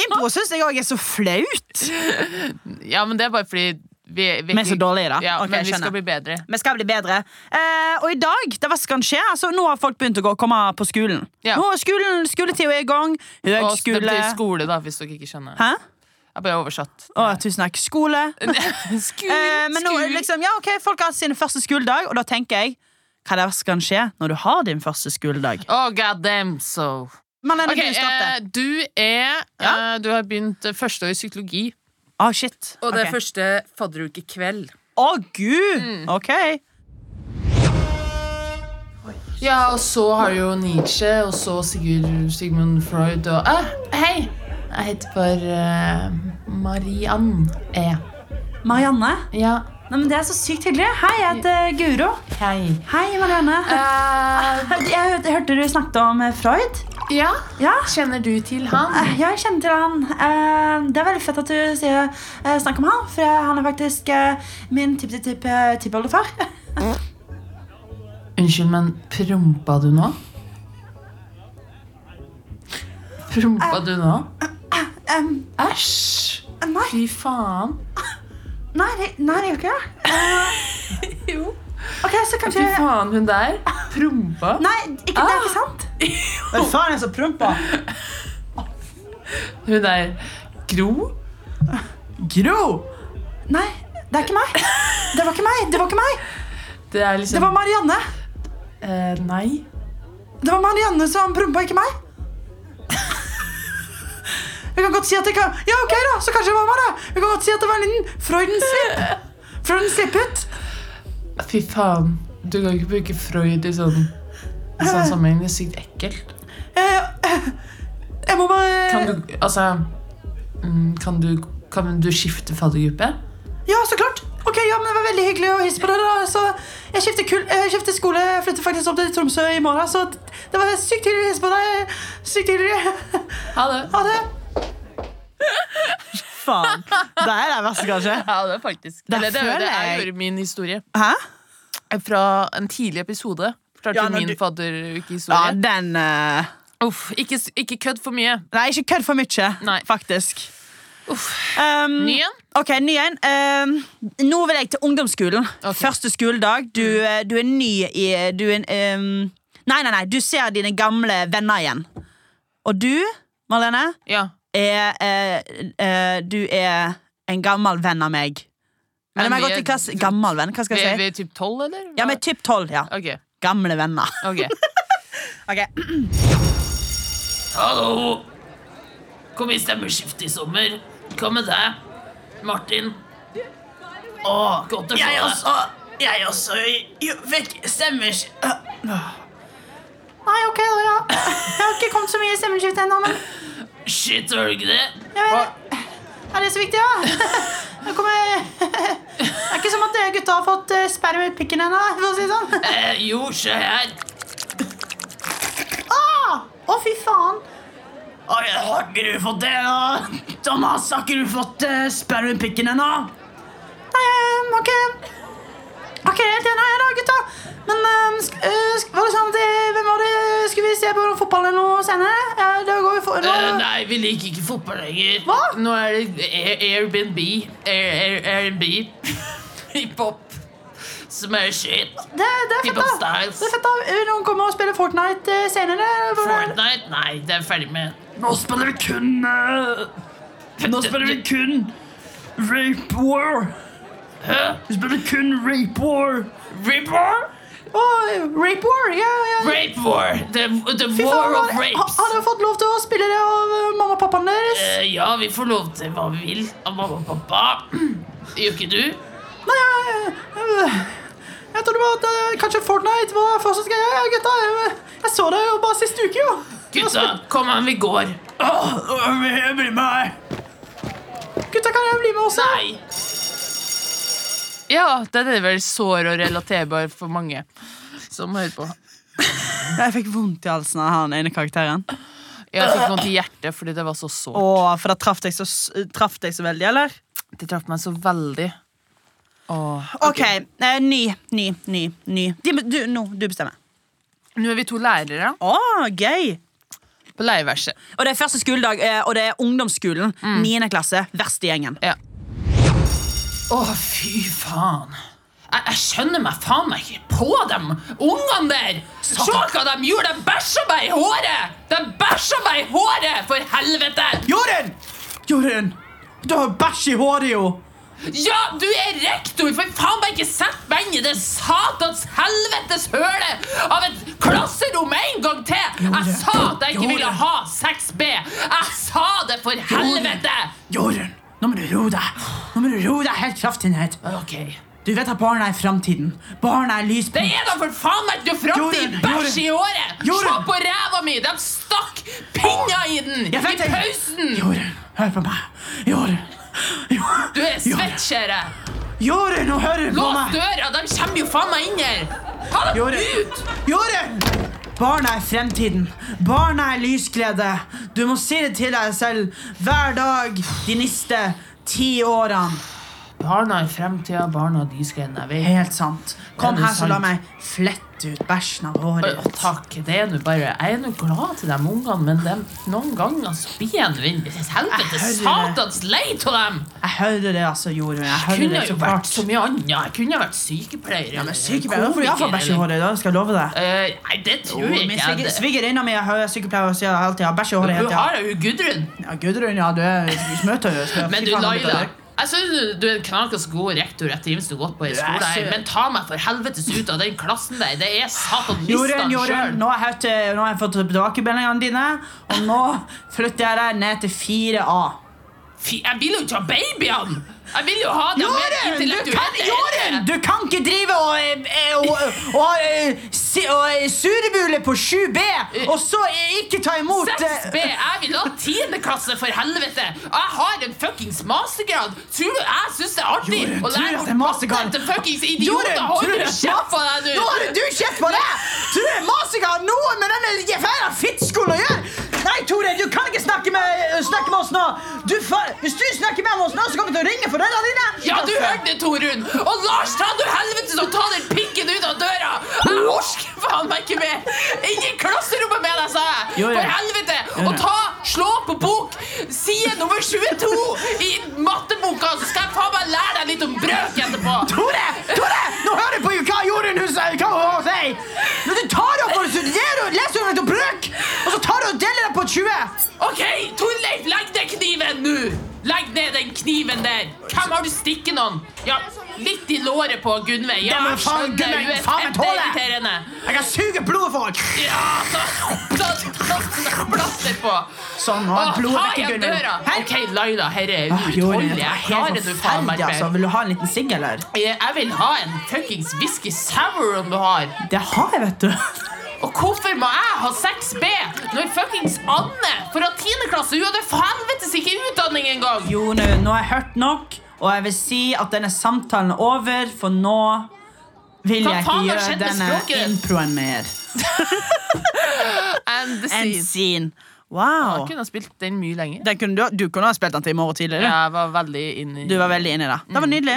B: Impro syns jeg òg er så flaut.
A: Ja, men det er bare fordi vi,
B: Vi er så dårlige i det.
A: Ja,
B: Ok,
A: men vi
B: skjønner.
A: skal bli bedre.
B: Vi skal bli bedre. Eh, og i dag, det verste kan skje altså, Nå har folk begynt å gå, komme på skolen.
A: Ja.
B: Nå er skolen, Skoletida er i gang.
A: Og det
B: Høgskole
A: betyr skole, da, hvis dere ikke skjønner.
B: Hæ?
A: Jeg bare oversatt. *laughs*
B: Å, tusen takk. Skole.
A: Skul,
B: Eh, men nå er det liksom, ja, ok, folk har sin første skoledag, og da tenker jeg hva er det verste kan skje når du har din første skoledag?
A: Oh, god damn, so
B: Marlene,
A: Ok,
B: du starter.
A: eh, du er eh, Du har begynt eh, første år i psykologi.
B: Å, Ah, shit.
A: Og det
B: Ok.
A: er første fadderukekveld.
B: Å,
C: Å, gud!
A: Mm.
C: OK.
A: Ja, og så har jo Nietzsche, og så Sigurd Sigmund Freud og ah, Hei! Jeg heter bare eh, Mariann E.
B: Marianne.
A: Ja,
B: Nei, men det er så sykt hyggelig. Hei, jeg heter Guro.
A: hei.
B: Hei, Marianne.
A: Eh,
B: *laughs* Jeg hørte- hørte du snakket om eh, Freud.
A: ja,
B: Ja.
A: kjenner du til han?
B: Eh, Jeg kjenner til han. Eh, Det er veldig fett at du sier eh, snakk om han, for han er faktisk eh, min tippetipp-tippoldefar.
A: Unnskyld, men prompa du nå? Prompa du nå? eh,
B: Em,
A: Æsj!
B: Nei,
A: Fy faen.
B: nei, det- nei, det gjør ikke det. Eh,
A: Jo.
B: Ok, så
A: Fy
B: kanskje
A: faen, Ah! hun der. Prompa.
B: Nei, ikke, det er ikke
A: *laughs*
B: sant.
C: Hva faen er så prompa?
A: Hun der. Gro? Gro!
B: Nei, det er ikke meg. Det var ikke meg. Det var ikke meg.
A: Det er
B: Det
A: liksom
B: var Marianne.
A: eh, Nei.
B: Det var Marianne som prompa, ikke meg. Vi kan godt si at det kan Ja, ok, da, så kanskje det var meg, da. Vi kan godt si at det var en liten Freuden-slipp. Freuden-slipp-ut.
A: Fy faen. Du kan ikke bruke Freud i sånn i sånn sammenheng. Det er sykt ekkelt.
B: Eh, Jeg må bare
A: Kan du Altså mm, Kan du, kan du skifte faddergruppe?
B: Ja, så klart. Ok, ja, men Det var veldig hyggelig å hilse på dere. da. Så jeg skifter, kul eh, jeg skifter skole. Jeg flytter faktisk opp til Tromsø i morgen. Så det var sykt hyggelig å hilse på deg. Sykt hyggelig.
A: Ha det.
B: Ha det.
C: Faen. Det er det verste, kanskje.
A: Ja, det er faktisk
C: Der
A: Eller, det, er jo-
C: føler
A: det er
C: jeg-
A: jo min historie.
C: Hæ?
A: Fra en tidlig episode. Klart
C: Ja,
A: til
C: når
A: min
C: du- Ja,
A: fadderukehistorie.
C: den eh,
A: Uff, ikke, s- ikke kødd for mye.
C: Nei, ikke kødd for mye,
A: Nei.
C: faktisk. Um,
A: Ny en?
C: Ok, ny en. Um, nå vil jeg til ungdomsskolen.
A: Ok. Mm.
C: Første skoledag. Du, eh, du er ny i du er, um, Nei, nei, nei. Du ser dine gamle venner igjen. Og du, Marlene,
A: Ja.
C: er eh, eh, Du er en gammel venn av meg.
A: Men
C: Eller, men
A: vi
C: jeg
A: er-
C: går til klasse, gammel venn, hva skal
A: Vi er
C: jeg si?
A: vi typ tolv, eller?
C: Ja, men typ 12, ja.
A: Ok.
C: Gamle venner.
A: ok
C: Ok.
A: Hallo! Kom i stemmeskift i sommer. Hva med deg, Martin? Å, godt å se deg.
C: Jeg også fikk stemmer...
B: Nei, ok, da, ja. Jeg har ikke kommet så mye i stemmeskift ennå, men
A: Shit, var du ikke det?
B: jeg vet, er det så viktig, ja? Jeg kommer Det er ikke som at dere gutta har fått eh, sperm i pikken ennå, for å si det sånn.
A: Eh, jo, se her.
B: Ah! Å, fy faen.
C: Oi, har ikke du fått det, da? Thomas, har ikke du fått
A: eh,
C: uh, sperre i pikken ennå?
B: Nei, ehm, jeg har ikke Har ikke helt enig her, da, gutta. Men eh, sk eh, sk var det sånn at eh, Hvem var det? Skulle vi se på fotball eller noe senere? Ja, da går vi for...
A: Eh,
B: Nå,
A: nei, vi liker ikke fotball lenger.
B: Hva?
A: Nå er det Air- Airbnb. Air, Air, Airbnb. Hiphop. Som er shit.
B: det, det er fett,
A: Keep up
B: da.
A: styles.
B: Det er fett da. Eh, Noen kommer og spiller Fortnite eh, senere. Hvor-
A: Fortnite? Nei, det er jeg ferdig med.
D: Nå spiller vi kun eh, Nå spiller vi kun Rape War. Vi spiller kun Rape War.
A: Rape war?
B: Å, Rape War. Ja, ja.
A: Rape war. The, the
B: Fy
A: war
B: faen,
A: of
B: har,
A: rapes.
B: har dere fått lov til å spille det av eh, mamma og pappaen deres?
A: Eh, ja, vi får lov til hva vi vil av mamma og pappa. Gjør ikke du?
B: Nei, jeg, jeg, jeg trodde bare at eh, kanskje Fortnite var fortsatt greia. Ja, gutta, jeg, jeg så det jo bare sist uke, jo.
A: Gutta, kom an, vi går.
D: Åh, jeg blir med her.
B: Gutta, kan jeg bli med også?
A: Nei. Ja, den er vel sår og relaterbar for mange som hører på.
C: Jeg fikk vondt i halsen av han ene karakteren.
A: Jeg fikk vondt i hjertet fordi det var så sårt.
C: Å, for da traff deg så, s- traff deg så veldig, eller?
A: Det traff meg så veldig. Åh.
C: OK, eh, ny, ny, ny, ny. De, du, nå, du bestemmer.
A: Nå er vi to lærere
C: Å, gøy!
A: på leirverset.
C: Og det er første skoledag, eh, og det er ungdomsskolen. Niende klasse. Verste gjengen.
A: Mm. Ja. Å, fy faen. Jeg, jeg skjønner meg faen meg ikke på dem ungene der! Se hva de gjorde! De bæsja meg i håret! De bæsja meg i håret, for helvete!
C: Jorunn! Jorunn! Du har bæsj i håret, jo!
A: Ja, du er rektor! For faen meg ikke sett meg inn i det satans helvetes hølet av et klasserom en gang til! Jeg sa at jeg ikke ville ha 6B! Jeg sa det, for helvete!
C: Jorunn, nå må du roe deg. Nå må du roe deg helt kraftig ned.
A: Ok,
B: Du vet at barn er framtiden. Barn er lys
A: Det er da for faen meg du framtid!
B: Jorunn,
A: Bæsj i håret!
B: Jorunn.
A: Se på ræva mi! De stakk pinner i den! I
B: Jeg vet det.
A: pausen!
B: Jorunn, hør på meg. Jorunn. Jorunn.
A: Du er svett, ser jeg.
B: Jorunn, nå hører du på
A: Lås
B: meg.
A: døra! De kommer jo faen meg inn her! Ta dem
B: Jorunn.
A: ut!
B: Jorunn! Barna er fremtiden. Barna er lysglede. Du må si det til deg selv hver dag de neste ti årene.
A: Barna i fremtida, barna de skal inn. Jeg vet.
B: Helt sant.
A: Ja,
B: Kom
A: det er
B: her, så la
A: sant.
B: meg flette ut bæsjen av håret
A: Å,
B: ditt.
A: takk. Det er nå bare Jeg er nå glad til de ungene, men dem- noen ganger så blir jeg nå inn i helvete
B: Jeg hører det.
A: satans lei av dem!
B: Jeg hører det, altså, Jorunn. Jeg
A: Jeg
B: hører
A: kunne
B: det
A: jo
B: så
A: vært
B: klart.
A: så mye annet. Jeg kunne vært sykepleier.
B: Ja,
A: eller
B: men sykepleier, hvorfor jeg får
A: komiker,
B: bæsj i
A: eller-
B: håret i dag? Skal jeg love deg?
A: Eh, Nei, det tror jeg
B: Min
A: ikke. jeg.
B: sviger-
A: Det-
B: svigerinna mi er sykepleier og sier alltid har bæsj i håret.
A: Du
B: hele tiden.
A: har jo Gudrun.
B: Ja, Gudrun, ja, du er smøtøyest.
A: Men du, Laila. Jeg synes du- du er en knakende god rektor etter hvis du har gått på en
B: Du er
A: skole her,
B: så-
A: men ta meg for helvetes ut av den klassen der. Det er satan
B: Jorunn,
A: nistene
B: Jorunn,
A: sjøl.
B: nå har jeg, hørt, eh, nå har jeg fått tilbakemeldingene dine, og nå flytter jeg deg ned til 4A.
A: Jeg vil jo ikke ha babyene! Jeg vil jo ha dem mer
B: du kan,
A: intellektuelle
B: Jorunn, du kan ikke drive og, eh, og, og, og, eh, si- og eh, surebule på 7B, og så eh, ikke ta imot eh,
A: 6B! Jeg vil ha 10. klasse, for helvete! Jeg har en fuckings mastergrad! Tror du jeg syns det er artig
B: Jorunn,
A: å
B: tror jeg
A: lære
B: det er
A: bort
B: mastergrad?
A: matte til fuckings
B: Jorunn,
A: idioter?
B: tror
A: Hold
B: du
A: nå kjeft på deg,
B: Nå
A: du!
B: har du kjeft på deg! Tror du Masika har noe med denne fæla fittskolen å gjøre? Nei, Tore, du kan ikke snakke med, snakke med oss nå! Du, fa- hvis du snakker med oss nå, så kommer vi til å ringe foreldrene dine!
A: Ja, du
B: Altså.
A: hørte det, Torunn! Og Lars, ta du helvetes og ta den pikken ut av døra! Jeg orker faen meg ikke mer! Inn i klasserommet med deg, sa jeg!
B: Jo, jo.
A: For helvete! Og ta, slå på bok side nummer 22 i matteboka, så skal jeg faen meg lære deg litt om brøk etterpå!
B: Tore! Tore! Nå hører du på hva Jorunn hun sier! Hva hun sier! Når du tar opp og studerer og leser om et brøk, og så tar du og deler det på 20!
A: OK, Torleif, legg ned kniven nå! Legg ned den kniven der! Hvem har du stikket noen? Ja, litt i låret på Gunveig. Ja,
B: Ja, men
A: jeg
B: faen,
A: skjønner,
B: Gunnveig,
A: du er
B: faen, jeg tåler det.
A: kjempeirriterende.
B: Jeg kan suge blodet folk!
A: Ja, ta plaster, plaster, plaster på!
B: Sånn, nå er
A: Åh,
B: blodet
A: ta
B: vekk,
A: igjen
B: Gunnhild.
A: døra!
B: Her.
A: OK, Laila, herre er
B: Ah, Jorunn,
A: uutholdelig.
B: det
A: Jeg
B: var
A: klarer
B: helt
A: du faen meg
B: forferdelig,
A: ikke
B: altså.
A: mer.
B: Vil du ha en liten sigg, eller?
A: Eh, Jeg vil ha en fuckings whisky sour om du har.
B: Det har jeg, vet du.
A: Og hvorfor må jeg ha 6B når fuckings Anne for å ha 10. klasse? Hun hadde for helvetes ikke utdanning engang!
E: Jo,
B: Nå, nå har jeg hørt nok, og jeg vil si at denne samtalen er over, for nå vil
A: Hva
B: jeg ikke
A: faen har
B: gjøre
A: skjedd med
B: denne
A: språket?
B: introen mer.
A: And the
E: En scene. Wow.
A: kunne ha spilt den mye lenger.
E: Den kunne du, du kunne ha spilt den til i morgen tidlig. du.
A: Jeg var veldig inni
E: Du var veldig inne i det. Det var
A: Mm.
E: nydelig.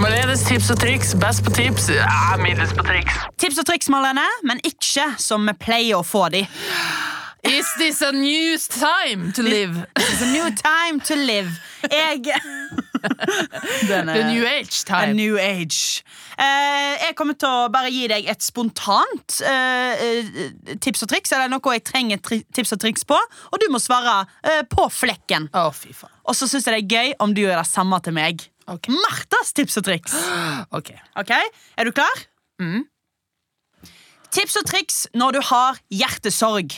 A: Maledes tips og triks. Best på tips. Ja, middels på triks.
E: Tips og triks, Marlene, men ikke som vi pleier å få de.
A: Is this a new time to
E: *laughs*
A: live?
E: It's a new time to live.
A: *laughs*
E: Jeg *laughs* Den
A: The new age
E: A
A: time.
E: new age. Eh, jeg kommer til å bare gi deg et spontant eh, eh, tips og triks, eller noe jeg trenger tri tips og triks på, og du må svare eh, på flekken.
A: Å, fy faen.
E: Og så syns jeg det er gøy om du gjør det samme til meg.
A: Ok.
E: Marthas tips og triks.
A: Ok.
E: Ok, Er du klar?
A: Mm.
E: Tips og triks når du har hjertesorg.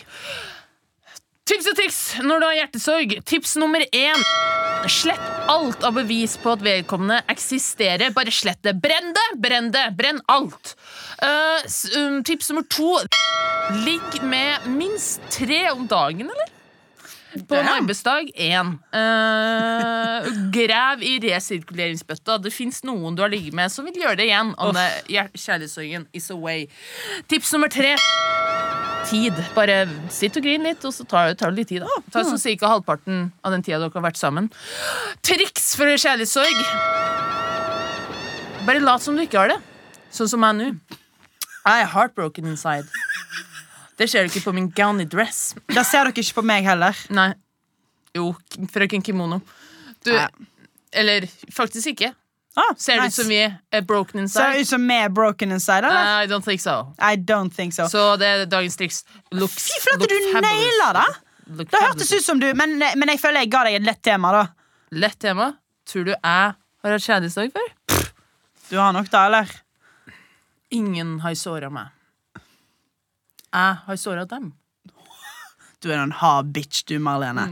A: Tips og triks når du har hjertesorg. Tips nummer én. Slett alt av bevis på at vedkommende eksisterer. Bare slett det. Brenn det, brenn det, brenn alt. Eh, s- um, tips nummer to. Ligg med minst tre om dagen, eller? På en
E: Damn.
A: arbeidsdag én. Eh, grav i resirkuleringsbøtta. Det fins noen du har ligget med som vil gjøre det igjen. Anne, hjer- kjærlighetssorgen is away. Tips nummer tre tid. Bare sitt og grin litt, og så tar tar det litt tid. da. Ta
E: Mm.
A: sånn cirka halvparten av den tida dere har vært sammen. Triks for kjærlighetssorg. Bare lat som du ikke har det. Sånn som jeg nå. I am heartbroken inside. Det ser du ikke på min gowny dress.
E: Det ser dere ikke på meg heller.
A: Nei. Jo, k- frøken Kimono. Du
E: Nei.
A: Eller faktisk ikke.
E: Ah,
A: Ser det ut
E: nice.
A: som vi er broken
E: Ser det
A: inside?
E: ut som vi er broken inside, eller?
A: I don't think so.
E: I don't think so.
A: Så det er dagens triks. Looks,
E: Fy flate, du naila det! Det hørtes ut som du, men, men jeg føler jeg ga deg et lett tema, da.
A: Lett tema. Tror du jeg har hatt kjærlighetssorg før?
E: Du har nok det, eller?
A: Ingen har såra meg. Jeg har såra dem.
E: Du er en hard bitch, du, Marlene.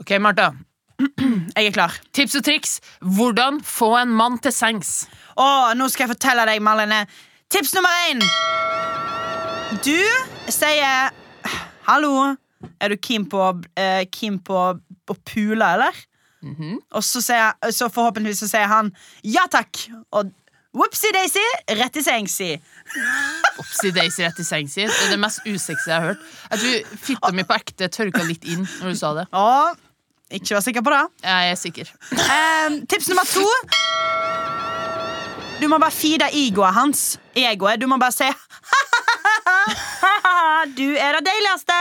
A: OK, Martha.
F: Jeg er klar.
A: Tips og triks. Hvordan få en mann til sengs.
F: Å, nå skal jeg fortelle deg, Marlene. Tips nummer én. Du sier Hallo, er du keen på, eh, keen på å pule, eller? Og så, sier, så forhåpentligvis så sier han ja takk. Og whoopsie-daisy, rett i sengs i.
A: Opsi Daisy rett i sengs i. Det er det mest usexy jeg har hørt. Jeg tror fitta mi på ekte tørka litt inn når du sa det.
F: Å, ikke vær sikker på det.
A: Jeg er sikker.
F: Eh, tips nummer to. Du må bare feede egoet hans. Egoet. Du må bare si *laughs* Du er det deiligste!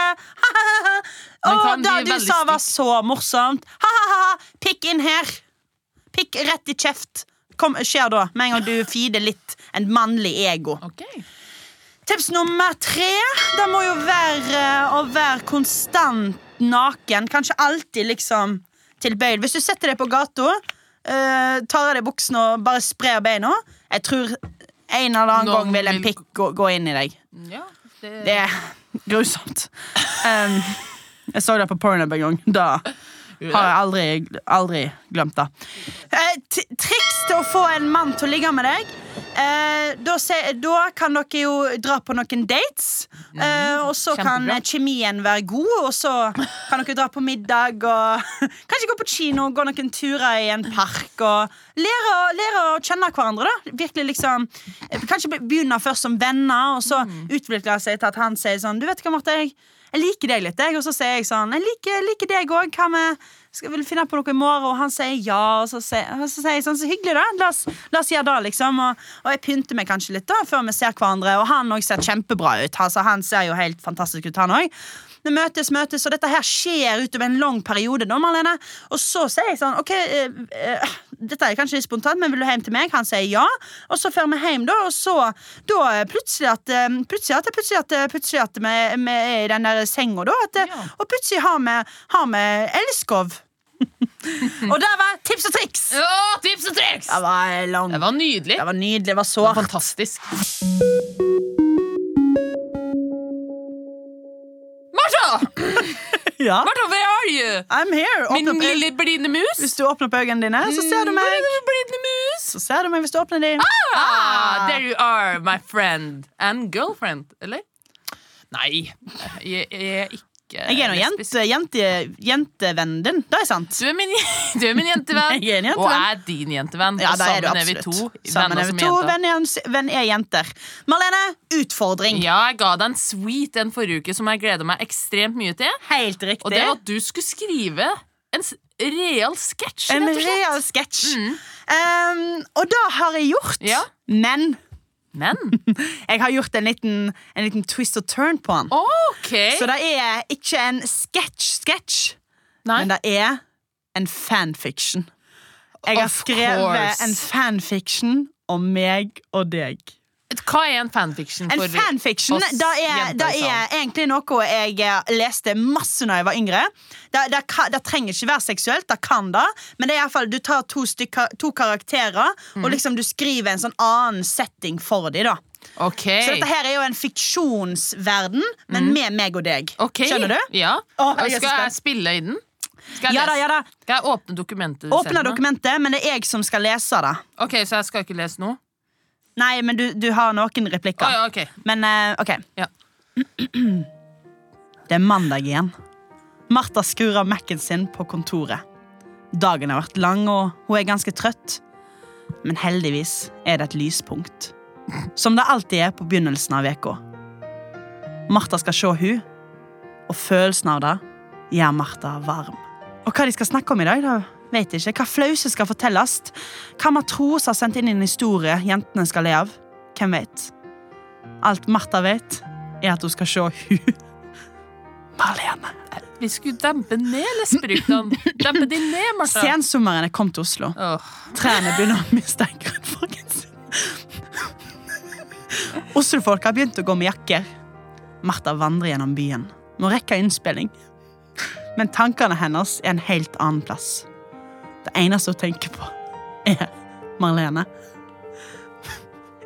F: *laughs*
A: Men
F: Og
A: kan
F: det
A: bli
F: du
A: veldig
F: sa, var så morsomt. *laughs* Pikk inn her. Pikk rett i kjeft. Kom, skjer da, med en gang du feeder litt en mannlig ego.
A: Ok.
F: Tips nummer tre Det må jo være eh, å være konstant naken. Kanskje alltid liksom tilbøyelig. Hvis du setter deg på gata, eh, tar av deg buksene og bare sprer beina Jeg tror en eller annen
A: Noen
F: gang vil en
A: vil-
F: pikk gå, gå inn i deg.
A: Ja, det,
F: Det er grusomt. Um, jeg så det på pornhub en gang. Da har jeg aldri, aldri glemt det. Eh, t- triks til å få en mann til å ligge med deg. Eh, da, se, da kan dere jo dra på noen dates. Eh, og så kan
A: kjempebra.
F: eh, kjemien være god, og så kan dere dra på middag og *laughs* kanskje gå på kino, gå noen turer i en park og lære, å- lære å kjenne hverandre. da Virkelig liksom eh, Kanskje be- begynne først som venner, og så utvikle seg til at han sier sånn Du vet hva, Marte, jeg, jeg liker deg litt, jeg. Og så sier jeg sånn Jeg liker, liker deg òg. Hva med skal, Vil du finne på noe i morgen? Og han sier ja, og så sier, og så sier jeg sånn Så hyggelig, da. La oss, la oss gjøre det, liksom. Og, og jeg pynter meg kanskje litt, da, før vi ser hverandre. Og han òg ser kjempebra ut. Altså, han ser jo helt fantastisk ut, han òg. Vi møtes, møtes, og dette her skjer utover en lang periode. Nå, Marlene. Og så sier jeg sånn OK, eh, eh, dette er kanskje litt spontant, men vil du hjem til meg? Han sier ja. Og så drar vi hjem, da, og så da eh, plutselig at eh, Plutselig at, plutselig at, eh, plutselig at vi, vi er i den der senga, da. At, eh,
A: Ja.
F: Og plutselig har vi, har vi elskov.
A: *laughs*
F: og der var tips og triks!
A: Å, tips og triks!
F: Det var lang.
A: Det var nydelig.
F: Det var nydelig. Det var
A: Det var
F: sårt.
A: fantastisk. Martha!
F: Ja.
A: Martha, where are you?
F: I'm here. Åpne
A: Min
F: opp øy-
A: lille blinde mus?
F: Hvis du åpner opp øynene dine, så ser du meg.
A: Lille blinde mus.
F: Så ser du meg hvis du åpner dem.
A: Mm. Ah, there you are, my friend. And girlfriend, eller? Nei, jeg, jeg er ikke
F: Jeg er nå
A: lesbisk.
F: jente, jente, jentevennen din. Det er sant.
A: Du er min, du er min jentevenn,
F: *laughs* Jeg er en jentevenn.
A: og er din jentevenn.
F: Ja,
A: og
F: det er
A: sammen
F: du
A: er vi to
F: absolutt. Sammen
A: venner
F: er
A: som
F: vi to
A: jenter.
F: venn er, venn er jenter. Marlene, utfordring.
A: Ja, jeg ga deg en sweet en forrige uke som jeg gleda meg ekstremt mye til.
F: Helt riktig.
A: Og det var at du skulle skrive en s- real sketsj,
F: en
A: rett og slett.
F: real sketsj. Um, og det har jeg gjort.
A: Ja.
F: Men *laughs*
A: Men
F: jeg har gjort en liten, en liten twist og turn på den.
A: OK.
F: Så det er ikke en sketsj-sketsj,
A: Nei.
F: men det er en fanfiction. Jeg har
A: Of
F: skrevet
A: course.
F: en fanfiction om meg og deg.
A: Hva er en fanfiction?
F: En
A: for
F: fanfiction
A: oss
F: det er,
A: jenter i
F: det
A: salen?
F: er egentlig noe jeg eh, leste masse når jeg var yngre. Det, det, ka- det trenger ikke være seksuelt, det kan det, men det er i hvert fall, du tar to, stykker, to karakterer
A: Mhm.
F: og liksom du skriver en sånn annen setting for dem. da.
A: OK.
F: Så dette her er jo en fiksjonsverden, men med meg og deg.
A: Mhm. Ok.
F: Skjønner du?
A: Ja.
F: Å, jeg er så
A: skal jeg
F: spent.
A: spille i den? Skal jeg,
F: Ja da,
A: lese-
F: ja da.
A: Skal jeg åpne dokumentet? du
F: Åpne
A: sender meg?
F: dokumentet, men det er jeg som skal lese det.
A: Ok, Så jeg skal ikke lese noe?
F: Nei, men du, du har noen replikker.
A: Å, ja, ok.
F: Men eh, ok
A: Ja.
F: *clears throat* Det er mandag igjen Martha skurer Mac-en sin på kontoret Dagen har vært lang og hun er ganske trøtt Men heldigvis er det et lyspunkt Som det alltid er på begynnelsen av veka Martha skal se hun Og følelsen av det Gjør Martha varm Og hva de skal snakke om i dag da Vet jeg ikke, hva flause skal fortelles Hva matros har sendt inn i en historie Jentene skal le av, hvem vet Alt Martha vet, er at hun skal se hun Marlene.
A: Vi skulle dempe ned lesberyktene. dempe de ned, Martha.
F: Sensommeren er kommet til Oslo.
A: Åh.
F: Trærne begynner å miste grønnfargen sin. Oslofolk har begynt å gå med jakker. Martha vandrer gjennom byen. Må rekke innspilling. Men tankene hennes er en helt annen plass. Det eneste hun tenker på, er Marlene.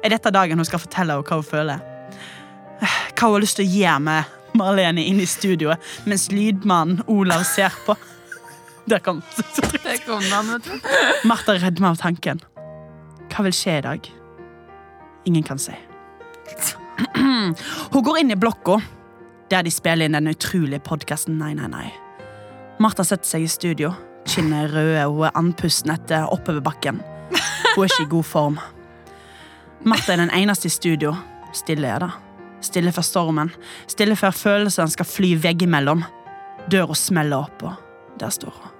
F: Er dette dagen hun skal fortelle henne hva hun føler? Hva hun har lyst til å gjøre med Marlene inne i studioet mens lydmannen Olav ser på? Der kom
A: Der kom den, vet du.
F: Martha er redd meg av tanken. Hva vil skje i dag? Ingen kan si. Hun går inn i blokka, der de spiller inn den utrolige podkasten Nei, nei, nei. Martha setter seg i studio. Kinnet er røde, hun er andpusten etter oppoverbakken. Hun er ikke i god form. Martha er den eneste i studio. Stille er det. Stille før stormen. Stille før følelsene skal fly veggimellom. Døra smeller opp, og der står hun.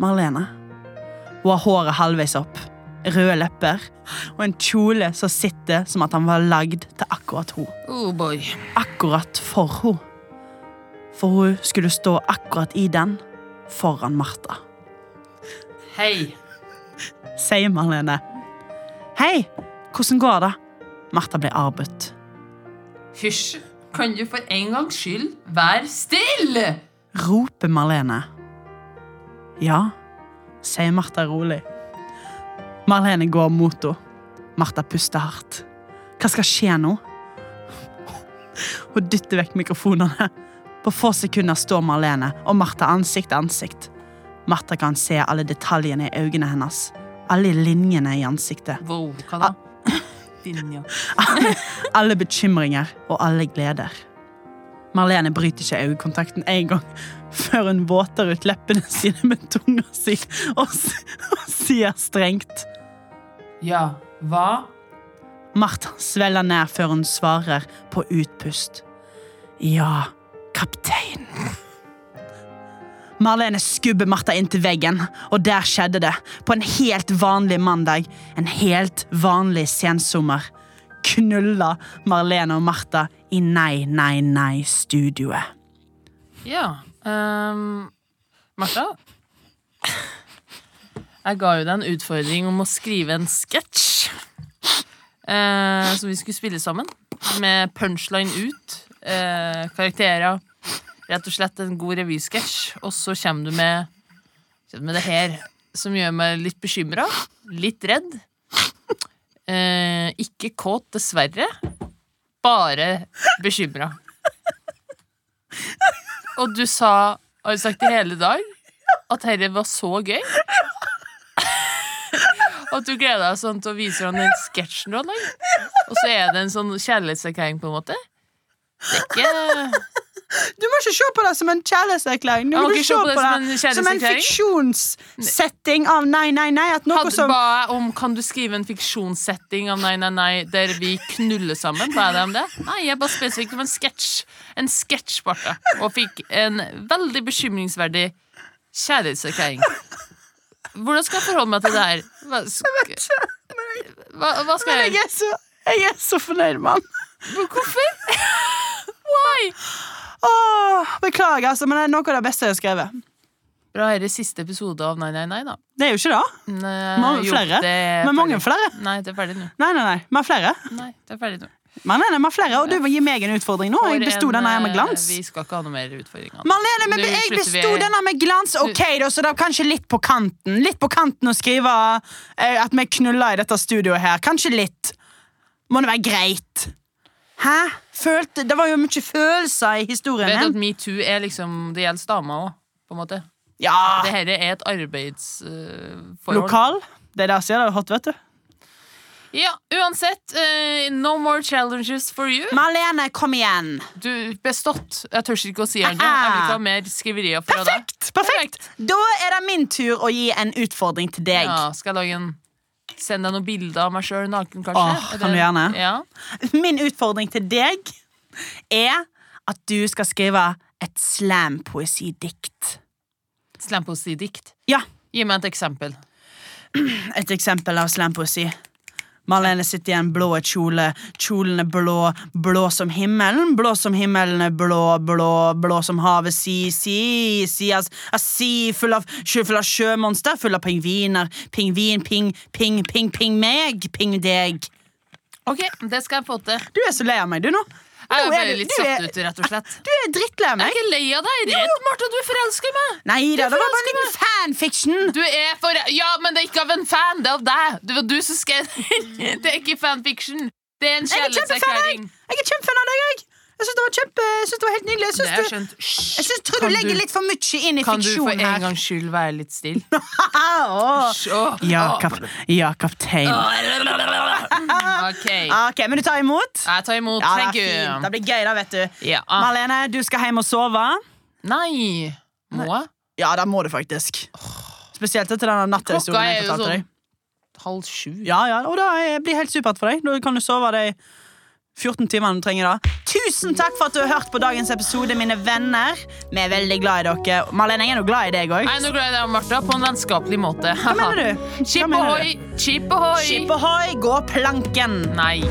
F: Marlene. Hun har håret halvveis opp, røde lepper og en kjole som sitter som at han var lagd til akkurat hun.
A: Oh boy.
F: Akkurat for hun. For hun skulle stå akkurat i den foran Martha.
A: Hei.
F: Sier Marlene. Hei, hvordan går det? Martha blir arbeidt.
A: Hysj. Kan du for en gangs skyld være stille?
F: roper Marlene. Ja, sier Martha rolig. Marlene går mot henne. Martha puster hardt. Hva skal skje nå? Hun dytter vekk mikrofonene. På få sekunder står Marlene og Martha ansikt til ansikt. Martha kan se alle detaljene i øynene hennes, alle linjene i ansiktet.
A: Wow, hva
F: Ah.
A: da? Dinja.
F: alle bekymringer og alle gleder. Marlene bryter ikke øyekontakten en gang før hun våter ut leppene sine med tunga si og, s- og sier strengt.
A: Ja, hva?
F: Martha svelger ned før hun svarer på utpust. Ja, kaptein. Marlene skubber Martha inn til veggen, og der skjedde det. På en helt vanlig mandag. En helt vanlig sensommer. Knulla Marlene og Martha i Nei, nei, nei-studioet.
A: Ja. ehm, Martha? Jeg ga jo deg en utfordring om å skrive en sketsj. eh, som vi skulle spille sammen. Med punchline ut. eh, karakterer. Rett og slett en god revysketsj. Og så kommer du med, kommer med det her, som gjør meg litt bekymra. Litt redd. Eh, ikke kåt, dessverre. Bare bekymra. Og du sa, har du sagt i hele dag, at dette var så gøy. Og at du gleder deg sånn til å vise hvordan den sketsjen du har lagd. Og så er det en sånn kjærlighetserklæring, på en måte. Det er ikke
F: Du må ikke se på det som en kjærlighetserklæring. Du
A: Jeg må
F: må
A: ikke
F: se på det
A: som en
F: som en
A: kjærlighetserklæring.
F: fiksjonssetting av nei, nei, nei. At noe
A: Hadde,
F: som
A: ba jeg om Kan du skrive en fiksjonssetting av Nei, nei, nei der vi knuller sammen? Ba jeg deg om det? Nei, jeg ba spesifikt om en sketsj. En sketsj, Barthe. Og fikk en veldig bekymringsverdig kjærlighetserklæring. Hvordan skal jeg forholde meg til det her? Hva, sk- hva, hva skal
F: Jeg
A: jeg
F: er så, jeg er så fornøyd med han.
A: Hvorfor? *laughs* Why?
F: Åh, beklager, altså, men det er noe av det beste jeg har skrevet.
A: Bra, her er siste episode av Nei, nei, nei, da. eh,
F: Det er jo ikke det.
A: Nei,
F: Mange
A: jo,
F: flere?
A: det er
F: Men mange
A: ferdig.
F: flere?
A: Nei, det er ferdig nå.
F: Nei, nei, nei. Vi har flere.
A: Nei, det er ferdig nå.
F: Men, nei, nei, vi har flere, Og du vil gi meg en utfordring nå. Jeg
A: For
F: besto
A: en,
F: denne her
A: eh,
F: med glans.
A: Vi skal ikke ha noe mer utfordringer.
F: Marlene, men
A: Nå
F: jeg
A: slutter vi-
F: besto denne med glans. Ok, da, så det er kanskje litt på kanten. Litt på kanten å skrive eh, at vi knulla i dette studioet her. Kanskje litt. Må det være greit. Hæ? Følte, det var jo mye følelser i historien.
A: Vet
F: her.
A: at metoo er liksom Det gjelder damer òg, på en måte.
F: Ja,
A: Dette er et eh, arbeidsforhold.
F: Ah. Lokal. Det er der siden det er hot, vet du.
A: Ja, uansett. eh, no more challenges for you.
F: Marlene, kom igjen.
A: Du bestått. Jeg tør ikke å si det. Jeg vil ikke ha mer skriverier fra deg.
F: Perfekt! perfekt Da er det min tur å gi en utfordring til deg.
A: Ja, skal jeg lage en Send deg noen bilder av meg sjøl naken, kanskje?
F: Åh,
A: Er det-
F: kan du gjerne?
A: Ja.
F: *laughs* Min utfordring til deg er at du skal skrive et slampoesidikt.
A: Slampoesi-dikt.
F: Ja,
A: Gi meg et eksempel.
F: et eksempel av slampoesi. Marlene sitter i en blå kjole. Kjolen er blå, blå som himmelen. Blå som himmelen er blå, blå, blå som havet. Si, si, si, as, as, si full, av, sjø, full av sjømonster, full av pingviner. Pingvin, ping, ping, ping, ping meg, ping deg.
A: Ok, det skal jeg få til.
F: Du er så lei av meg, du nå.
A: Jeg er
F: Nå er
A: bare
F: du-
A: litt
F: du er-
A: satt ut, rett og slett.
F: Du er drittlei av
A: Jeg er
F: meg.
A: ikke lei av deg. Jeg er Redd, Martha, du er forelska i meg.
F: Nei da, det var bare en
A: forelsker
F: liten fanfiction.
A: Du er for... Ja, men det er ikke av en fan, det er av deg. Det var du som skrev *laughs* Det er ikke fanfiction. Det er en
F: Jeg er kjempefan av deg.
A: kjærlighetserklæring.
F: Jeg er kjempefan av deg, jeg.
B: Jeg syns det, var kjempe- jeg synes det var helt nydelig. Jeg
A: Det har jeg
B: syns du,
A: skjønt. Hysj!
B: jeg synes, tror
A: Kan
B: du
A: du-
B: legger litt for mye inn i
A: Kan du for
B: fiksjon
A: en
B: her.
A: gangs skyld være litt stille?
B: Ah, åh.
A: Hysj, åh.
B: Ja, kap ja, kaptein.
A: OK. Jeg
B: Ah, Ok, Men du tar imot?
A: tar imot.
B: Ja,
A: Thank
B: det, er fint. det
A: you. Ah.
B: blir gøy, da, vet du.
A: Ja.
B: Marlene, du skal hjem og sove.
A: Nei. Må jeg?
B: Ja, det må du faktisk. Spesielt etter denne
A: Klokka
B: natthistorien jeg
A: er jo
B: fortalte
A: sånn
B: deg.
A: halv sju.
B: Ja, ja, og det blir helt supert for deg. Da kan du sove de 14 timene du trenger. da Tusen takk for at du har hørt på dagens episode, mine venner. Vi er veldig glad i dere. Marlene, jeg er jo glad i deg òg.
A: Nei, nå gleder jeg deg, Martha, på en vennskapelig måte.
B: Hva mener du? Hva
A: *laughs* Chip
B: mener du?
A: ohoi! Chip ohoi!
B: Skip ohoi, gå planken!
A: Nei.